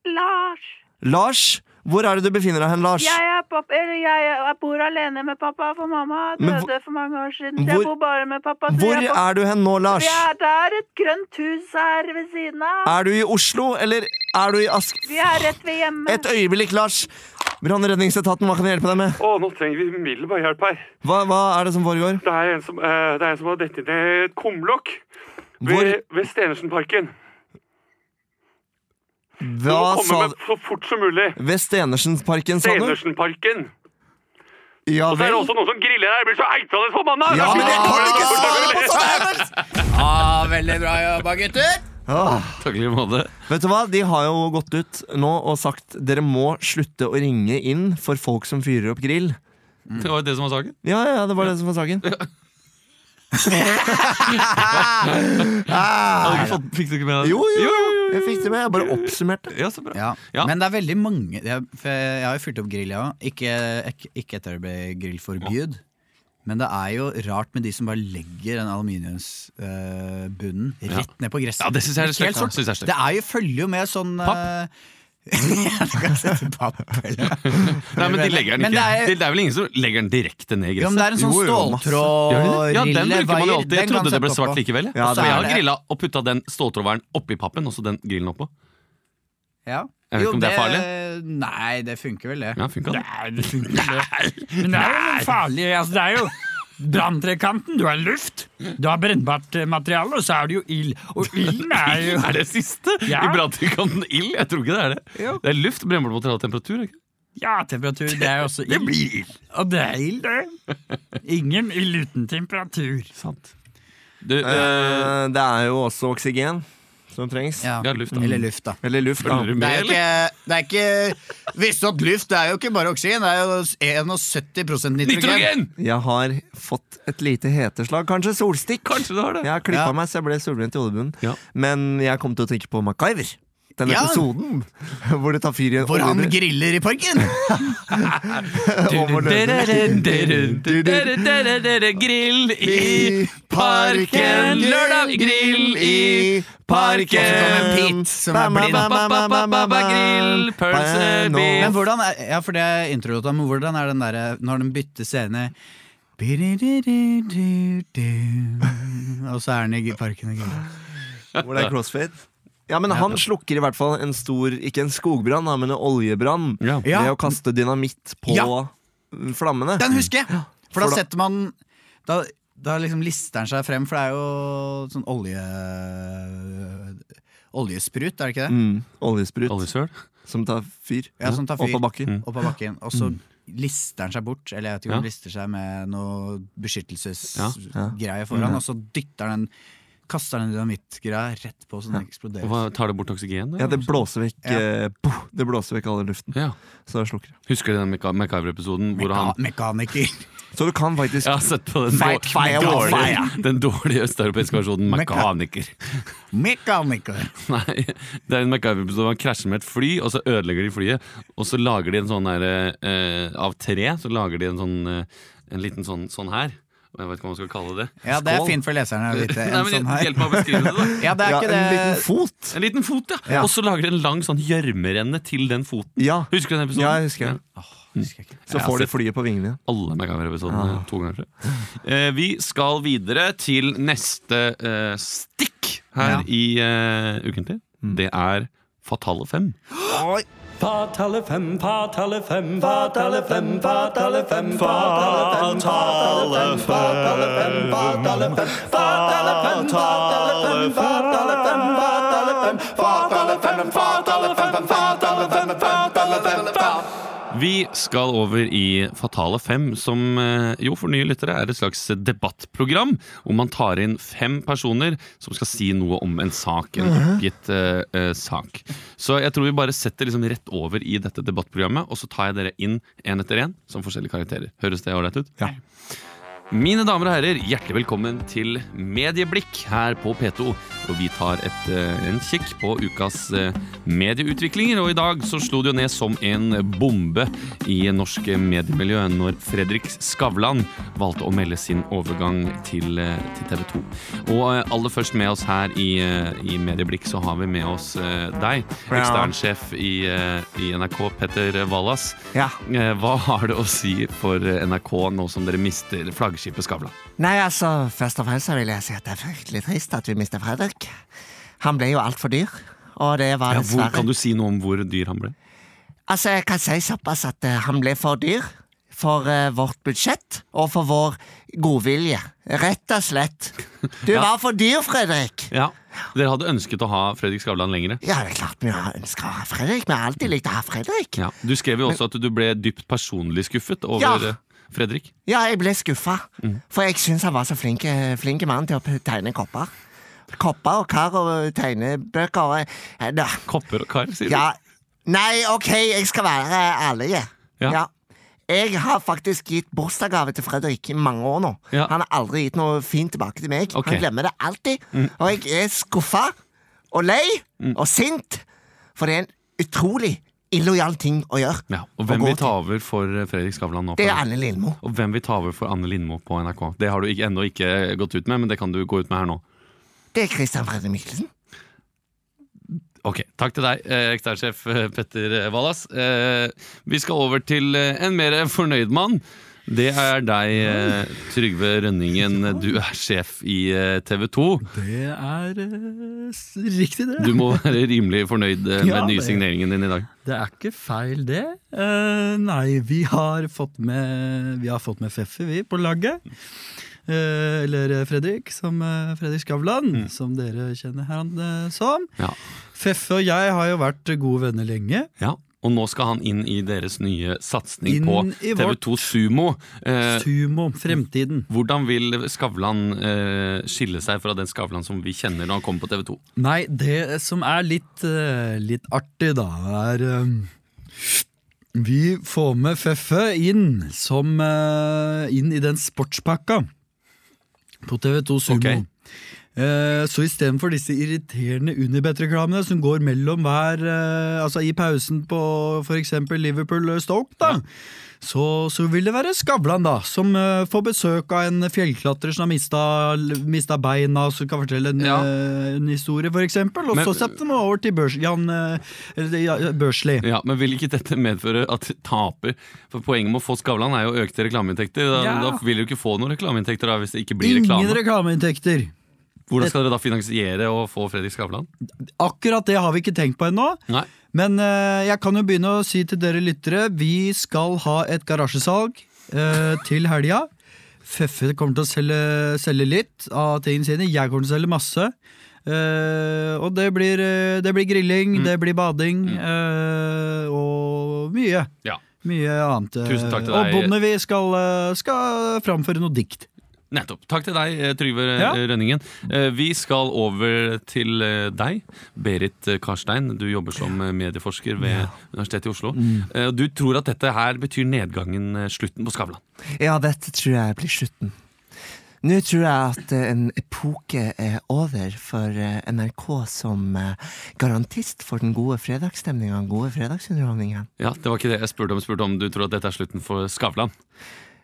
Speaker 8: Lars.
Speaker 3: Lars? Hvor er det du befinner deg hen, Lars?
Speaker 8: Jeg, er pappa, eller jeg, er- jeg bor alene med pappa, for mamma
Speaker 3: Men
Speaker 8: døde for mange år siden. Så
Speaker 3: hvor-
Speaker 8: jeg bor bare med pappa. Så
Speaker 3: Hvor
Speaker 8: jeg bor-
Speaker 3: er du hen nå, Lars?
Speaker 8: Vi er, det er et grønt hus her ved siden av.
Speaker 3: Er du i Oslo, eller er du i Ask...
Speaker 8: Vi er rett ved hjemme.
Speaker 3: Et øyeblikk, Lars! Brann- og redningsetaten, hva kan jeg hjelpe deg med?
Speaker 7: Å, nå trenger vi umiddelbar hjelp her.
Speaker 3: Hva, hva er det som foregår?
Speaker 7: Det er en som, eh, det er en som har dettet ned et kumlokk
Speaker 3: Hvor,
Speaker 7: ved, ved Stenersenparken. Du
Speaker 3: hva
Speaker 7: må
Speaker 3: sa
Speaker 7: komme
Speaker 3: du?
Speaker 7: med så fort som mulig.
Speaker 3: Ved Stenersensparken, sa du?
Speaker 7: Stenersenparken.
Speaker 3: Ja
Speaker 7: Og så er det også noen som griller her. Jeg blir så eitrende forbanna!
Speaker 3: Ja, men jeg kan ikke
Speaker 7: svare på sånt!
Speaker 2: Ah, veldig bra jobba, gutter!
Speaker 3: Åh,
Speaker 1: Takkelig måte.
Speaker 3: Ah, vet du hva? De har jo gått ut nå og sagt dere må slutte å ringe inn for folk som fyrer opp grill.
Speaker 2: Mm.
Speaker 1: Det var jo det som var saken.
Speaker 3: Ja, ja, det var det som var saken.
Speaker 2: Ah,
Speaker 1: Hadde ikke fått- Fikk du ikke med deg det?
Speaker 3: Jo, jo, jeg fikk det med. Jeg bare oppsummerte.
Speaker 1: Ja, så bra.
Speaker 2: Ja.
Speaker 1: Ja.
Speaker 2: Men det er veldig mange Jeg, for jeg har jo fyrt opp grill, ja. Ikke, ikke- ikke etter det ble grillforbud. Men det er jo rart med de som bare legger den aluminiumsbunnen rett ned på gresset.
Speaker 1: Ja, det synes jeg er
Speaker 2: Helt sånn.
Speaker 1: stygt, da. Synes jeg er
Speaker 2: sort.
Speaker 1: stygt.
Speaker 2: Det er jo, følger jo med sånn eh, [laughs] du kan sette på app,
Speaker 1: [laughs]
Speaker 2: eller?
Speaker 1: Nei, men de legger den
Speaker 2: Men
Speaker 1: ikke.
Speaker 2: det er-
Speaker 1: Det det er vel ingen som legger den direkte ned i
Speaker 2: Jo, men
Speaker 1: gresset?
Speaker 2: det er en sånn
Speaker 3: Jo, jo, masse.
Speaker 2: ståltrådrille
Speaker 1: Ja, den bruker man jo
Speaker 2: vaier,
Speaker 1: alltid. Jeg
Speaker 2: den kan
Speaker 1: trodde det ble
Speaker 2: sette
Speaker 1: svart
Speaker 2: oppå.
Speaker 1: likevel. jeg.
Speaker 3: Ja,
Speaker 1: Så
Speaker 2: det
Speaker 1: jeg
Speaker 2: er
Speaker 1: har
Speaker 2: det.
Speaker 1: grilla og putta den ståltrådværen oppi pappen, og så den grillen oppå.
Speaker 2: Ja.
Speaker 1: Jeg vet ikke om det er
Speaker 2: Nei, det funker vel, det.
Speaker 1: Ja, funka det?
Speaker 9: Men det er jo noe farlig. Altså, det er jo branntrekanten. Du har luft, du har brennbart eh, materiale, og så er det jo ild. Og ilden er
Speaker 1: [laughs]
Speaker 9: jo
Speaker 1: Er det siste?
Speaker 9: Ja.
Speaker 1: I branntrikanten ild? Jeg tror ikke det er det. Det er luft, brennbart materiale, temperatur. Ikke?
Speaker 9: Ja, temperatur. Det er jo også ild. Det blir ild. Og det er ild, det. Ingen ild uten temperatur.
Speaker 1: Sant. Du, øh,
Speaker 3: Eh, det er jo også oksygen som trengs.
Speaker 2: Ja.
Speaker 1: ja, luft. da.
Speaker 2: Eller luft, da.
Speaker 3: Eller luft. Da.
Speaker 1: Følger du
Speaker 2: Det
Speaker 1: med,
Speaker 2: er,
Speaker 1: eller?
Speaker 2: ikke, det er ikke Visste du at luft det er jo ikke bare oksygen? Det er jo 71 nitrogen!
Speaker 1: Nitrogen!
Speaker 3: Jeg har fått et lite heteslag. Kanskje solstikk.
Speaker 1: Kanskje du har det.
Speaker 3: Jeg har klippa
Speaker 2: Ja.
Speaker 3: meg så jeg ble solbrent i hodebunnen.
Speaker 1: Ja.
Speaker 3: Men jeg kom til å tenke på MacGyver. Den
Speaker 2: Ja.
Speaker 3: episoden hvor det tar fyr i en
Speaker 2: Hvor han
Speaker 3: olje-
Speaker 2: griller i parken!
Speaker 3: over lønnen.
Speaker 1: Grill i parken, lørdag grill i
Speaker 2: Og så kommer
Speaker 1: parken.
Speaker 2: Pete, som er blind.
Speaker 1: Grill, pølse,
Speaker 2: Men
Speaker 1: biff.
Speaker 2: hvordan er, ja, for det er introlåta, men hvordan er den derre når den bytter scene Bi-di-di-di-di-di. Og så er den i parken og griller.
Speaker 3: Hvor det er crossfit. Ja, men han slukker i hvert fall en stor, ikke en skogbrann, da, men en oljebrann
Speaker 1: Ja.
Speaker 2: Ja.
Speaker 3: ved å kaste dynamitt på
Speaker 2: Ja.
Speaker 3: flammene.
Speaker 2: Den husker jeg!
Speaker 3: For
Speaker 2: For
Speaker 3: da-
Speaker 2: da setter man Da, da liksom lister den seg frem, for det er jo sånn olje... Oljesprut, er det ikke det?
Speaker 3: Mm, oljesprut Mm.
Speaker 1: Oljesøl.
Speaker 3: som tar fyr.
Speaker 2: Ja, som tar
Speaker 3: Opp
Speaker 2: fyr.
Speaker 3: av bakken.
Speaker 2: Opp av bakken. Og så lister den seg bort, eller jeg vet ikke om den lister seg med noe beskyttelsesgreie foran, og så dytter den Kaster den dynamittgreia rett på, så den eksploderer.
Speaker 1: Og hva, tar det bort oksygen?
Speaker 3: Ja,
Speaker 1: da?
Speaker 3: det blåser vekk
Speaker 2: Ja.
Speaker 3: eh, poff, Det blåser vekk all den luften.
Speaker 1: Ja.
Speaker 3: Så det slukker det.
Speaker 1: Husker du den Mecha- MacGyver-episoden hvor han
Speaker 2: Meka mekaniker. [laughs]
Speaker 3: Så du kan faktisk
Speaker 1: Jeg har sett på den,
Speaker 3: Fight
Speaker 1: dår-
Speaker 3: fire with
Speaker 1: dårlige, den dårlige østeuropeiske versjonen Mekaniker. [laughs]
Speaker 2: Mekaniker!
Speaker 1: Nei, det er en MacGyver-episode hvor han krasjer med et fly, og så ødelegger de flyet. Og så lager de en sånn der eh, Av tre så lager de en sånn eh, En liten sånn, sånn her. Og Jeg vet ikke hva man skal kalle det.
Speaker 2: Ja, det er
Speaker 3: Skål.
Speaker 2: fint for leserne å
Speaker 1: [laughs]
Speaker 2: vite.
Speaker 1: Nei,
Speaker 2: En
Speaker 1: men
Speaker 2: sånn her.
Speaker 1: Hjelp meg å beskrive det, da.
Speaker 2: [laughs] Ja, det er
Speaker 3: ja,
Speaker 2: ikke
Speaker 3: En
Speaker 2: det
Speaker 3: liten fot!
Speaker 1: En liten fot, ja.
Speaker 3: Ja.
Speaker 1: Og så lager de en lang sånn gjørmerenne til den foten.
Speaker 3: Ja.
Speaker 1: Husker du den episoden?
Speaker 3: sånn? Ja, jeg husker den. Så
Speaker 1: Jeg har
Speaker 3: får
Speaker 1: sett-
Speaker 3: du flyet på vingene.
Speaker 1: alle MacGyver-episodene to ganger. Eh, vi skal videre til neste eh, stikk her i eh, Ukentlig.
Speaker 3: Mm.
Speaker 1: Det er Fatale fem.
Speaker 10: Fatale fem, fatale fem, fatale fem, fatale fem, fatale fem, fatale fem, fatale fem, fatale fem, fatale fem, fatale fem, fatale fem, fatale fem, fatale fem, fatale fem, fatale fem, fatale fem, fatale fem.
Speaker 1: Vi skal over i Fatale fem, som eh, jo for nye lyttere er et slags debattprogram. Hvor man tar inn fem personer som skal si noe om en sak. En oppgitt eh, eh, sak. Så jeg tror vi bare setter liksom rett over i dette debattprogrammet, og så tar jeg dere inn én etter én som forskjellige karakterer. Høres det ålreit ut?
Speaker 3: Ja.
Speaker 1: Mine damer og herrer, hjertelig velkommen til Medieblikk her på P2. Og vi tar et, eh, en kikk på ukas eh, medieutviklinger. Og i dag så slo det jo ned som en bombe i norsk mediemiljø når Fredrik Skavlan valgte å melde sin overgang til, eh, til TV 2. Og eh, aller først med oss her i, eh, i Medieblikk så har vi med oss eh, deg, eksternsjef i, eh, i NRK, Petter Wallas.
Speaker 3: Ja.
Speaker 1: Eh, Hva har det å si for eh, NRK nå som dere mister flaggskipet Skavlan?
Speaker 3: Nei, altså, først og fremst så vil jeg si at det er fryktelig trist at vi mister Fredrik. Han ble jo altfor dyr, og det var
Speaker 1: Ja, hvor,
Speaker 3: dessverre
Speaker 1: kan du si noe om hvor dyr han ble?
Speaker 3: Altså, jeg kan si såpass at eh, han ble for dyr for eh, vårt budsjett og for vår godvilje. Rett og slett. Du
Speaker 1: Ja.
Speaker 3: var for dyr, Fredrik!
Speaker 1: Ja, Dere hadde ønsket å ha Fredrik Skavlan lengre.
Speaker 3: Ja, det er klart vi har ønska å ha Fredrik. Vi har alltid likt å ha Fredrik.
Speaker 1: Ja. Du skrev jo også at du ble dypt personlig skuffet over
Speaker 3: Ja.
Speaker 1: eh, Fredrik.
Speaker 3: Ja, jeg ble skuffa,
Speaker 1: Mm.
Speaker 3: for jeg syns han var så flink, eh, flink mann til å p- tegne kopper. Kopper og kar og tegnebøker og eh, da.
Speaker 1: Kopper og kar, sier
Speaker 3: Ja, nei, ok, jeg skal være eh, ærlig.
Speaker 1: Ja.
Speaker 3: Ja. Jeg har faktisk gitt bursdagsgave til Fredrik i mange år nå.
Speaker 1: Ja.
Speaker 3: Han har aldri gitt noe fint tilbake til meg.
Speaker 1: Ok. Mm.
Speaker 3: Han glemmer det alltid. Og jeg er skuffa og lei og sint, for det er en utrolig illojal ting å gjøre.
Speaker 1: du. Ja. Og
Speaker 3: Å
Speaker 1: hvem
Speaker 3: gå
Speaker 1: vil ta
Speaker 3: til-
Speaker 1: over for eh, Fredrik Skavlan nå? på
Speaker 3: Det er
Speaker 1: NRK?
Speaker 3: Anne Lindmo.
Speaker 1: Og hvem vil ta over for Anne Lindmo på NRK? Det har du ikke, ennå ikke gått ut med, men det kan du gå ut med her nå.
Speaker 3: Det er Christian Fredrik Mikkelsen.
Speaker 1: Ok, takk til deg, eh, eksternsjef eh, Petter Wallas. Eh, Vi skal over til eh, en mer fornøyd mann. Det er deg, eh, Trygve Rønningen. Du er sjef i eh, TV 2.
Speaker 2: Det er eh, s- riktig, det.
Speaker 1: Du må være rimelig fornøyd eh,
Speaker 2: Ja,
Speaker 1: med
Speaker 2: det-
Speaker 1: nysigneringen din i dag.
Speaker 2: Det er ikke feil, det. Eh, nei, vi har fått med, vi har fått med Feffi, vi, på laget. Eh, eller Fredrik, som eh, Fredrik Skavlan, som dere kjenner her han eh, som.
Speaker 1: Mm. Ja.
Speaker 2: Feffe og jeg har jo vært gode venner lenge.
Speaker 1: Ja, og nå skal han inn i deres nye satsing
Speaker 2: Inn
Speaker 1: på
Speaker 2: i vårt-
Speaker 1: TV2 Sumo. Eh,
Speaker 2: Sumo, fremtiden.
Speaker 1: Hvordan vil Skavlan eh, skille seg fra den Skavlan som vi kjenner når han kommer på TV2?
Speaker 2: Nei, det som er litt, eh, litt artig, da, er eh, Vi får med Feffe inn, som, eh, inn i den sportspakka på TV2 Sumo. Eh, Så istedenfor disse irriterende Unibet-reklamene som går mellom hver eh, Altså i pausen på f.eks. Liverpool-Stoke, da. Så, så vil det være Skavlan, da, som eh, får besøk av en fjellklatrer som har mista, mista beina, som kan fortelle en, eh, en historie, f.eks. Og
Speaker 1: Men-
Speaker 2: så setter man over til Børs, Jan eh, eller, ja, Børsli.
Speaker 1: Ja, Men vil ikke dette medføre at de taper? For Poenget med å få Skavlan er jo økte reklameinntekter. Da,
Speaker 2: Ja.
Speaker 1: da vil du ikke få noen reklameinntekter da, hvis det ikke blir
Speaker 2: Ingen
Speaker 1: reklame.
Speaker 2: reklameinntekter.
Speaker 1: Hvordan skal dere da finansiere å få Fredrik Skavlan?
Speaker 2: Akkurat det har vi ikke tenkt på ennå.
Speaker 1: Nei.
Speaker 2: Men eh, jeg kan jo begynne å si til dere lyttere Vi skal ha et garasjesalg eh, til helga. Feffe kommer til å selge, selge litt av tingene sine. Jeg kommer til å selge masse. Eh, og det blir, eh, det blir grilling,
Speaker 1: Mm.
Speaker 2: det blir bading eh, og mye.
Speaker 1: Ja.
Speaker 2: Mye annet. eh,
Speaker 1: Tusen takk til
Speaker 2: og
Speaker 1: deg.
Speaker 2: Bondevi skal, eh, skal framføre noe dikt.
Speaker 1: Nettopp. Takk til deg, eh, Trygve eh,
Speaker 2: Ja.
Speaker 1: Rønningen. Eh, Vi skal over til eh, deg, Berit eh, Karstein. Du jobber som eh, medieforsker ved Universitetet i Oslo.
Speaker 3: Mm.
Speaker 1: Eh, Du tror at dette her betyr nedgangen, eh, slutten på Skavlan.
Speaker 3: Ja, dette tror jeg blir slutten. Nå tror jeg at eh, en epoke er over for eh, NRK som eh, garantist for den gode fredagsstemninga, den gode fredagsunderholdningen.
Speaker 1: Ja, Det var ikke det jeg spurte om. Jeg spurte om du tror at dette er slutten for Skavlan.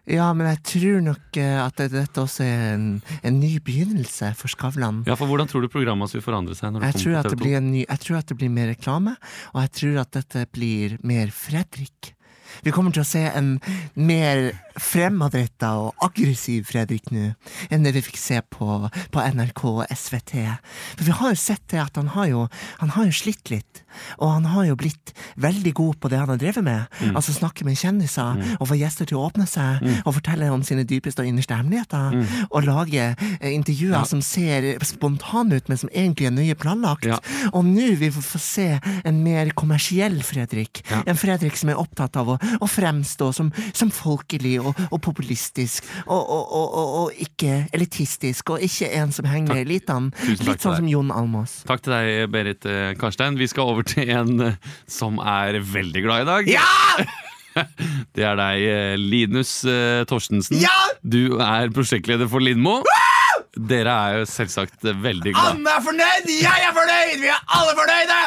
Speaker 3: Ja, men jeg tror nok eh, at det- dette også er en, en ny begynnelse for Skavlan.
Speaker 1: Ja, for Hvordan tror du programmet vil forandre seg? når du
Speaker 3: Jeg tror,
Speaker 1: kommer
Speaker 3: at det
Speaker 1: på TV2?
Speaker 3: blir en ny, jeg tror at det blir mer reklame, og jeg tror at dette blir mer Fredrik. Vi kommer til å se en mer fremadretta og aggressiv Fredrik nå enn det vi fikk se på, på NRK og SVT. For vi har jo sett det at han har jo, han har jo slitt litt, og han har jo blitt veldig god på det han har drevet med.
Speaker 11: Mm.
Speaker 3: Altså snakke med kjendiser,
Speaker 1: Mm.
Speaker 3: og få gjester til å åpne seg,
Speaker 11: Mm.
Speaker 3: og fortelle om sine dypeste og innerste hemmeligheter.
Speaker 11: Mm.
Speaker 3: Og lage eh, intervjuer som ser spontane ut, men som egentlig er nøye planlagt. Og nå vil vi få se en mer kommersiell Fredrik. En Fredrik som er opptatt av å, å fremstå som, som folkelig og, og populistisk, og, og, og, og, og ikke elitistisk, og ikke en som henger i elitene.
Speaker 1: Tusen takk
Speaker 3: Litt
Speaker 1: til
Speaker 3: sånn
Speaker 1: deg.
Speaker 3: som Jon Almaas.
Speaker 1: Takk til deg, Berit eh, Karstein. Vi skal over til en eh, som er veldig glad i dag. [laughs] Det er deg, eh, Linus eh, Torstensen. Du er prosjektleder for Lindmo. Dere er jo selvsagt eh, veldig glad.
Speaker 4: Anne er fornøyd, jeg er fornøyd, vi er alle fornøyde!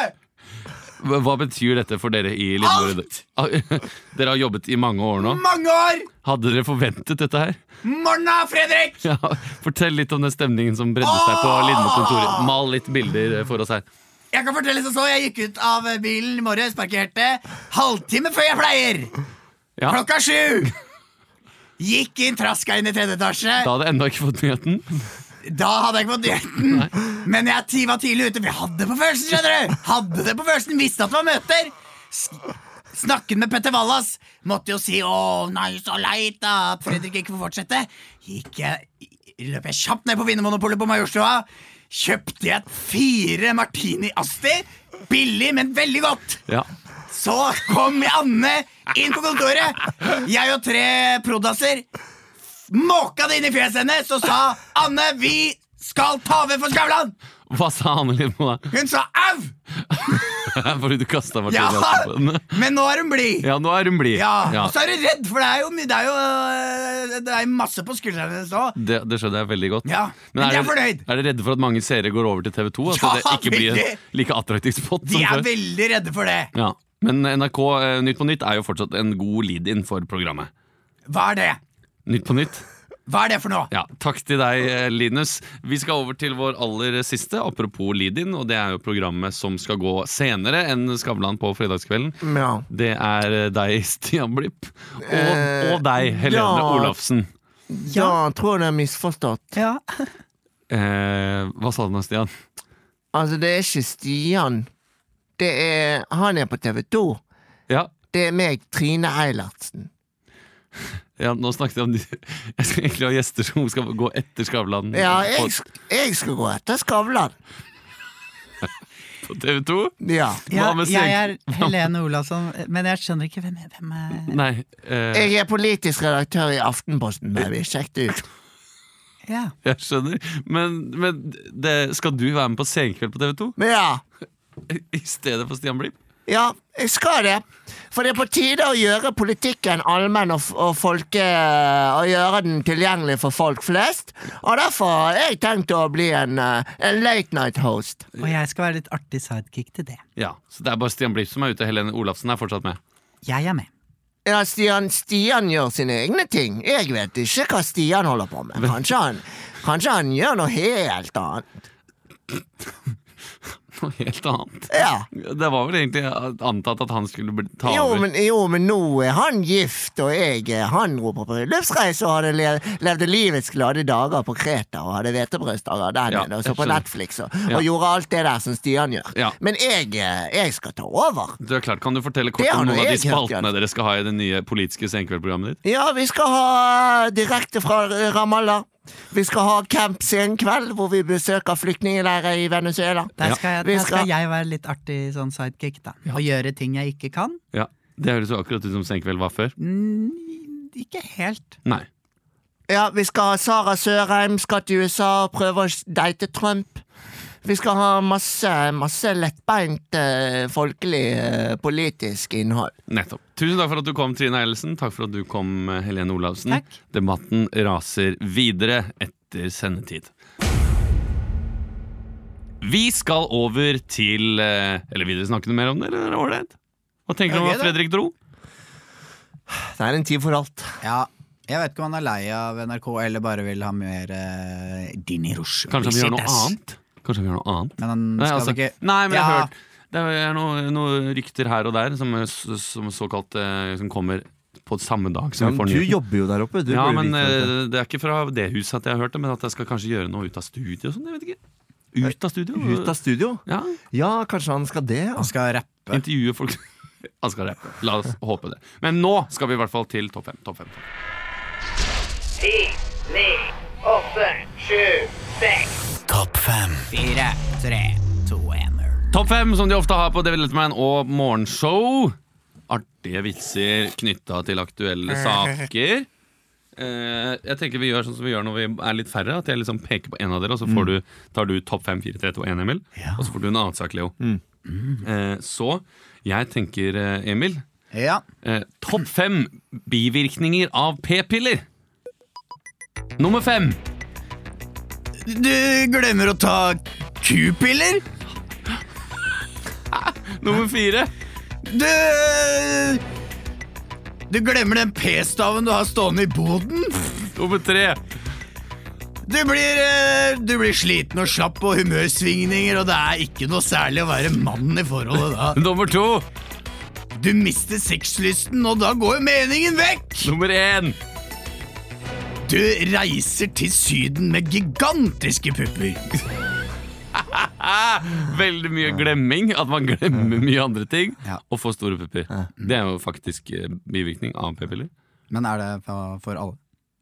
Speaker 1: Hva hva betyr dette for dere i Lindmo? i dag? Ah, [laughs] Dere har jobbet i mange år nå.
Speaker 4: Mange år!
Speaker 1: Hadde dere forventet dette her? [laughs]
Speaker 4: Morna, Fredrik!
Speaker 1: Ja, fortell litt om den stemningen som bredde seg på Lindmo-kontoret. Mal litt bilder eh, for oss her.
Speaker 4: Jeg kan fortelle som så, jeg gikk ut av bilen i morges, parkerte halvtime før jeg pleier.
Speaker 1: Ja.
Speaker 4: Klokka sju! Gikk inn traska inn i tredje etasje.
Speaker 1: Da hadde jeg ennå ikke fått nyheten.
Speaker 4: Da hadde jeg ikke fått nyheten. Men jeg ti- var tidlig ute, for jeg hadde det på følelsen, skjønner du. Hadde det på følelsen, visste at det var møter. Sk- Snakket med Petter Wallas. Måtte jo si 'Å, nei, så leit da, at Fredrik ikke får fortsette'. Gikk jeg, løp jeg kjapt ned på Vinmonopolet på Majorstua. Kjøpte jeg fire Martini Asti. Billig, men veldig godt.
Speaker 1: Ja.
Speaker 4: Så kom Anne inn på kontoret. Jeg og tre prod.asser måka det inn i fjeset hennes og sa Anne, vi skal ta over for Skavlan!
Speaker 1: Hva sa Anne Lindmo da? [laughs]
Speaker 4: Hun sa au!
Speaker 1: Fordi du kasta Martin
Speaker 4: Ja,
Speaker 1: Jassen på henne?
Speaker 4: Men nå er hun blid.
Speaker 1: Ja, nå er hun blid.
Speaker 4: Ja,
Speaker 1: Ja.
Speaker 4: Og så er hun redd, for det er jo, my- det er jo øh, det er masse på skuldrene hennes nå.
Speaker 1: Det, det skjønner jeg veldig godt.
Speaker 4: Ja, men
Speaker 1: er,
Speaker 4: jeg er
Speaker 1: dere-
Speaker 4: fornøyd.
Speaker 1: er dere redde for at mange seere går over til TV2? At
Speaker 4: Ja,
Speaker 1: det ikke blir
Speaker 4: veldig.
Speaker 1: en like attraktiv spot
Speaker 4: De
Speaker 1: som
Speaker 4: er
Speaker 1: før?
Speaker 4: veldig redde for det.
Speaker 1: Ja. Men NRK eh, Nytt på Nytt er jo fortsatt en god lead-in for programmet.
Speaker 4: Hva er det?
Speaker 1: Nytt på Nytt.
Speaker 4: Hva er det for noe?
Speaker 1: Ja, Takk til deg, eh, Linus. Vi skal over til vår aller siste, apropos Lidin. Og det er jo programmet som skal gå senere enn Skavlan på fredagskvelden.
Speaker 3: Ja.
Speaker 1: Det er eh, deg, [laughs] Stian Blipp. Og,
Speaker 3: Eh,
Speaker 1: og deg, Helene
Speaker 3: ja.
Speaker 1: Olafsen.
Speaker 3: Ja, jeg tror det er misforstått.
Speaker 1: Eh, hva sa du nå, Stian?
Speaker 3: Altså, det er ikke Stian. Det er Han er på TV 2.
Speaker 1: Ja,
Speaker 3: Det er meg, Trine Eilertsen.
Speaker 1: ja nå snakket jeg om de [laughs] Jeg skal egentlig ha gjester som skal gå etter Skavlan
Speaker 3: Ja,
Speaker 1: på,
Speaker 3: jeg, sk- jeg skal gå etter Skavlan.
Speaker 1: på TV 2.
Speaker 3: Ja.
Speaker 1: Hva med
Speaker 12: jeg
Speaker 1: seg-
Speaker 12: er Helene Olavsson, men jeg skjønner ikke hvem, hvem er
Speaker 1: Nei. Eh,
Speaker 3: Jeg er politisk redaktør i Aftenposten, baby. Sjekk det ut.
Speaker 12: ja.
Speaker 1: jeg skjønner. Men, men det, skal du være med på Senkveld på TV 2?
Speaker 3: Men ja.
Speaker 1: I stedet for Stian Blipp?
Speaker 3: Ja, jeg skal det. For det er på tide å gjøre politikken allmenn og, f- og folke... Og gjøre den tilgjengelig for folk flest. Og derfor har jeg tenkt å bli en, eh, en late night host.
Speaker 12: Og jeg skal være litt artig sidekick til det.
Speaker 1: Ja, Så det er bare Stian Blipp som er ute. Helene Olafsen er fortsatt med. [laughs]
Speaker 12: Jeg er med.
Speaker 3: Ja, Stian, Stian gjør sine egne ting. Jeg vet ikke hva Stian holder på med. Kanskje han, kanskje han gjør noe helt annet.
Speaker 1: Noe helt annet.
Speaker 3: Ja.
Speaker 1: Det var vel egentlig antatt at han skulle bli- ta
Speaker 3: Jo,
Speaker 1: over.
Speaker 3: men, jo, men nå er han gift, og jeg eh, han dro på bryllupsreise og hadde le levde livets glade dager på Kreta og hadde hvetebrødsdager der
Speaker 1: Ja,
Speaker 3: nede og
Speaker 1: jeg
Speaker 3: så på
Speaker 1: skjønner.
Speaker 3: Netflix og,
Speaker 1: Ja.
Speaker 3: og gjorde alt det der som Stian gjør.
Speaker 1: Ja.
Speaker 3: Men jeg, eh, jeg skal ta over.
Speaker 1: Du er klart, Kan du fortelle kort
Speaker 3: Det har
Speaker 1: om
Speaker 3: nå
Speaker 1: noen av de
Speaker 3: jeg hørt,
Speaker 1: spaltene dere skal ha i det nye politiske senkveldprogrammet ditt?
Speaker 3: Ja, vi skal ha direkte fra Ramallah. Vi skal ha camp senkveld, hvor vi besøker flyktningleirer i Venezuela.
Speaker 12: Der skal, jeg,
Speaker 3: Vi
Speaker 12: der skal
Speaker 3: skal-
Speaker 12: jeg være litt artig sånn sidekick, da. Og gjøre ting jeg ikke kan.
Speaker 1: Ja, Det høres jo akkurat ut som Senkveld var før.
Speaker 12: Mm, ikke helt.
Speaker 1: Nei.
Speaker 3: Ja, vi skal ha Sara Sørheim, skal til USA og prøve å deite Trump. Vi skal ha masse, masse lettbeint, eh, folkelig, eh, politisk innhold.
Speaker 1: Nettopp. Tusen takk for at du kom, Trine Eilertsen. Takk for at du kom, eh, Helene Olavsen.
Speaker 12: Takk.
Speaker 1: Debatten raser videre etter sendetid. Vi skal over til eh, Eller vil dere snakke noe mer om det? eller er det ålreit? Hva tenker du om
Speaker 2: Ja,
Speaker 1: at
Speaker 2: det er
Speaker 1: Fredrik dro?
Speaker 3: Det er en tid for alt.
Speaker 2: Ja, jeg vet ikke om han er lei av NRK eller bare vil ha mer eh, Dini Rush.
Speaker 1: Kanskje han gjør noe annet? Kanskje han gjør noe annet?
Speaker 2: Men han
Speaker 1: Nei,
Speaker 2: skal
Speaker 1: altså,
Speaker 2: ikke
Speaker 1: nei men jeg har
Speaker 2: Ja.
Speaker 1: hørt Det er noen noe rykter her og der som, er s- som såkalt eh, Som kommer på samme dag som vi får nyheten.
Speaker 3: jobber jo der oppe.
Speaker 1: Ja, men eh, Det er ikke fra det huset at jeg har hørt det, men at jeg skal kanskje gjøre noe ut av studio og sånn. Jeg vet ikke. Ut av studio?
Speaker 3: sånn- Ut av studio?
Speaker 1: Ja,
Speaker 3: Ja, kanskje han skal det.
Speaker 1: altså.
Speaker 2: Han skal rappe.
Speaker 1: Intervjue folk [laughs] Han skal rappe. La oss håpe det. Men nå skal vi i hvert fall til topp fem. Topp fem.
Speaker 6: Ti, ni, åtte, sju, seks.
Speaker 2: Topp fem. Fire, tre, to, en.
Speaker 1: Topp fem, som de ofte har på David Letterman og Morgenshow. Artige vitser knytta til aktuelle saker. Eh, jeg tenker vi gjør sånn som vi gjør når vi er litt færre. At jeg liksom peker på en av dere, og så får du, tar du topp fem, fire, tre, to, én, Emil. Og så får du en annen sak, Leo. Eh, så jeg tenker, eh, Emil
Speaker 2: Ja.
Speaker 1: eh, Topp fem bivirkninger av p-piller. Nummer fem.
Speaker 2: Du glemmer å ta kupiller?
Speaker 1: Nummer fire.
Speaker 2: Du Du glemmer den p-staven du har stående i boden?
Speaker 1: Nummer tre.
Speaker 2: Du blir, eh, du blir sliten og slapp og humørsvingninger, og det er ikke noe særlig å være mann i forholdet da.
Speaker 1: Nummer to.
Speaker 2: Du mister sexlysten, og da går jo meningen vekk!
Speaker 1: Nummer én.
Speaker 2: Du reiser til Syden med gigantiske pupper.
Speaker 1: [laughs] Veldig mye glemming. At man glemmer mye andre ting
Speaker 2: Ja.
Speaker 1: og får store pupper. Det er jo faktisk eh, bivirkning av p-piller.
Speaker 2: Men er det for alle?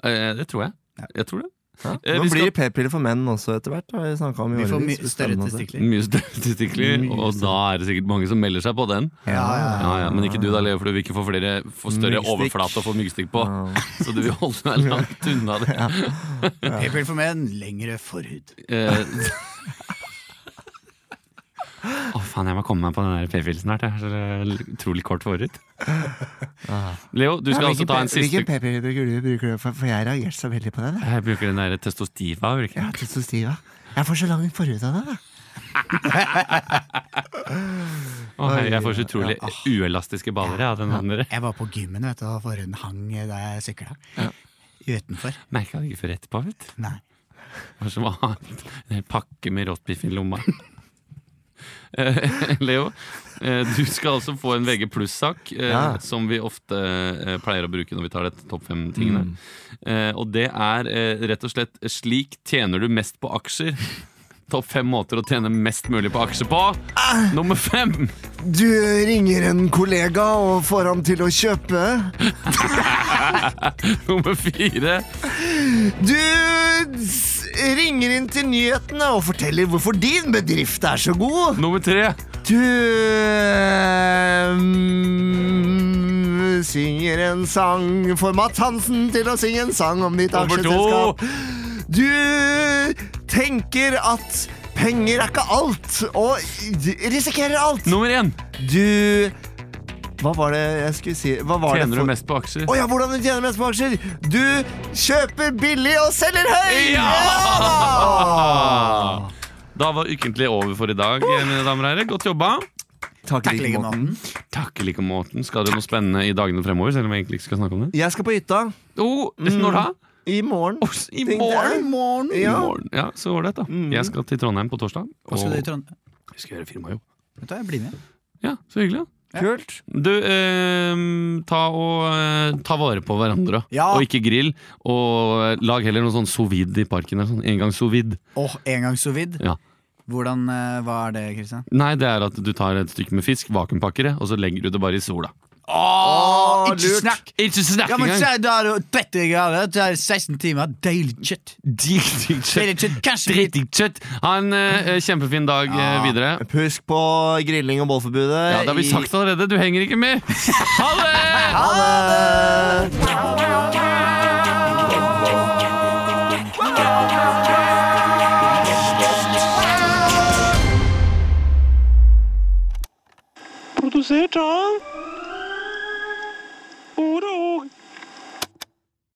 Speaker 1: Eh, Det tror jeg. Jeg tror det. Eh,
Speaker 3: Nå
Speaker 1: vi skal-
Speaker 3: blir det p-piller for menn også etter hvert. har vi snakket om i
Speaker 2: Vi får
Speaker 3: årevis.
Speaker 2: mye større
Speaker 3: Spennende.
Speaker 2: testikler.
Speaker 1: Mye større testikler, og da er det sikkert mange som melder seg på den. Ja, ja, men ikke du da, Leo, for du vil ikke få flere få større
Speaker 3: Myggstikk.
Speaker 1: overflate å få myggstikk på.
Speaker 3: Ja.
Speaker 1: Så du vil holde deg langt unna det.
Speaker 2: P-piller for menn, lengre forhud.
Speaker 1: Eh, [laughs] Å, faen, jeg må komme meg på den der p-pillen snart. Jeg har så utrolig kort forut. Leo, du skal altså
Speaker 3: Ja, hvilken
Speaker 1: ta
Speaker 3: p-
Speaker 1: en siste
Speaker 3: Hvilken p-piller bruker du? Bruker du for, for jeg reagerer så veldig på det. da.
Speaker 1: Jeg bruker den der testostiva. bruker jeg.
Speaker 3: Ja, testiva. Jeg får så lang forhud av det. da.
Speaker 1: Å, hei, jeg får så utrolig uelastiske baller jeg, av den andre.
Speaker 2: Jeg var på gymmen vet du, og forhuden hang eh, da jeg sykla.
Speaker 13: utenfor.
Speaker 1: Merka det ikke før etterpå, vet du.
Speaker 13: Nei.
Speaker 1: Hva som annet? En pakke med råttbiff i lomma. Eh, Leo, eh, du skal altså få en VG pluss-sak, eh,
Speaker 14: Ja.
Speaker 1: som vi ofte eh, pleier å bruke når vi tar dette topp fem-tingene. Eh, og det er eh, rett og slett 'Slik tjener du mest på aksjer'. Topp fem måter å tjene mest mulig på aksjer på. Nummer fem!
Speaker 3: Du ringer en kollega og får han til å kjøpe.
Speaker 1: Nummer fire.
Speaker 3: Du s- ringer inn til nyhetene og forteller hvorfor din bedrift er så god.
Speaker 1: Nummer tre.
Speaker 3: Du ehm, synger en sang for Mads Hansen til å synge en sang om ditt
Speaker 15: Nummer to.
Speaker 3: aksjeselskap. Du tenker at penger er ikke alt, og risikerer alt.
Speaker 1: Nummer én.
Speaker 3: Du Hva var det jeg skulle si? Hva var det
Speaker 1: Tjener du
Speaker 3: for-
Speaker 1: mest på aksjer?
Speaker 3: Å ja, hvordan du tjener mest på aksjer? Du kjøper billig og selger høyt!
Speaker 1: Ja! Da var ukentlig over for i dag, mine damer og herrer. Godt jobba.
Speaker 3: Takk i like måten.
Speaker 1: Takk i like måten. Skal det noe spennende i dagene fremover? Selv om jeg egentlig ikke skal snakke om det.
Speaker 3: Jeg skal på hytta.
Speaker 1: Oh, Når da?
Speaker 3: I morgen.
Speaker 1: Oh, I
Speaker 3: morgen?
Speaker 2: I morgen?
Speaker 1: I morgen. Ja, Mm. så ålreit, da. Jeg skal til Trondheim på torsdag.
Speaker 2: Hva skal du i
Speaker 1: og-
Speaker 2: Trondheim?
Speaker 1: Vi skal gjøre firmajobb.
Speaker 2: Vet du, hva, jeg blir med.
Speaker 1: Ja, så hyggelig.
Speaker 2: Ja.
Speaker 3: Kult.
Speaker 1: Du, eh, ta, og, eh, ta vare på hverandre,
Speaker 2: Ja.
Speaker 1: og ikke grill. Og lag heller noe sånn sous vide i parken. Eller sånn engangs-sous-vide.
Speaker 2: Åh, engangssovid?
Speaker 1: Ja.
Speaker 2: Hvordan, eh, hva er det, Kristian?
Speaker 1: Nei, det er at du tar et stykke med fisk, vakuumpakker det, og så legger du det bare i sola.
Speaker 2: Åh, ikke
Speaker 1: lurt.
Speaker 2: snakk!
Speaker 1: Ikke snakk
Speaker 2: ja, men,
Speaker 1: engang.
Speaker 2: se, Da er det 30 grader, det er 16 timer, deilig kjøtt.
Speaker 1: Dritdigg
Speaker 2: Deilig kjøtt, kanskje litt-
Speaker 1: Dritdigg kjøtt. Ha en eh, kjempefin dag eh, videre.
Speaker 3: Husk på grilling og bålforbudet.
Speaker 1: Ja, det har vi
Speaker 3: i-
Speaker 1: sagt allerede. Du henger ikke med. Ha det!
Speaker 3: Ha det!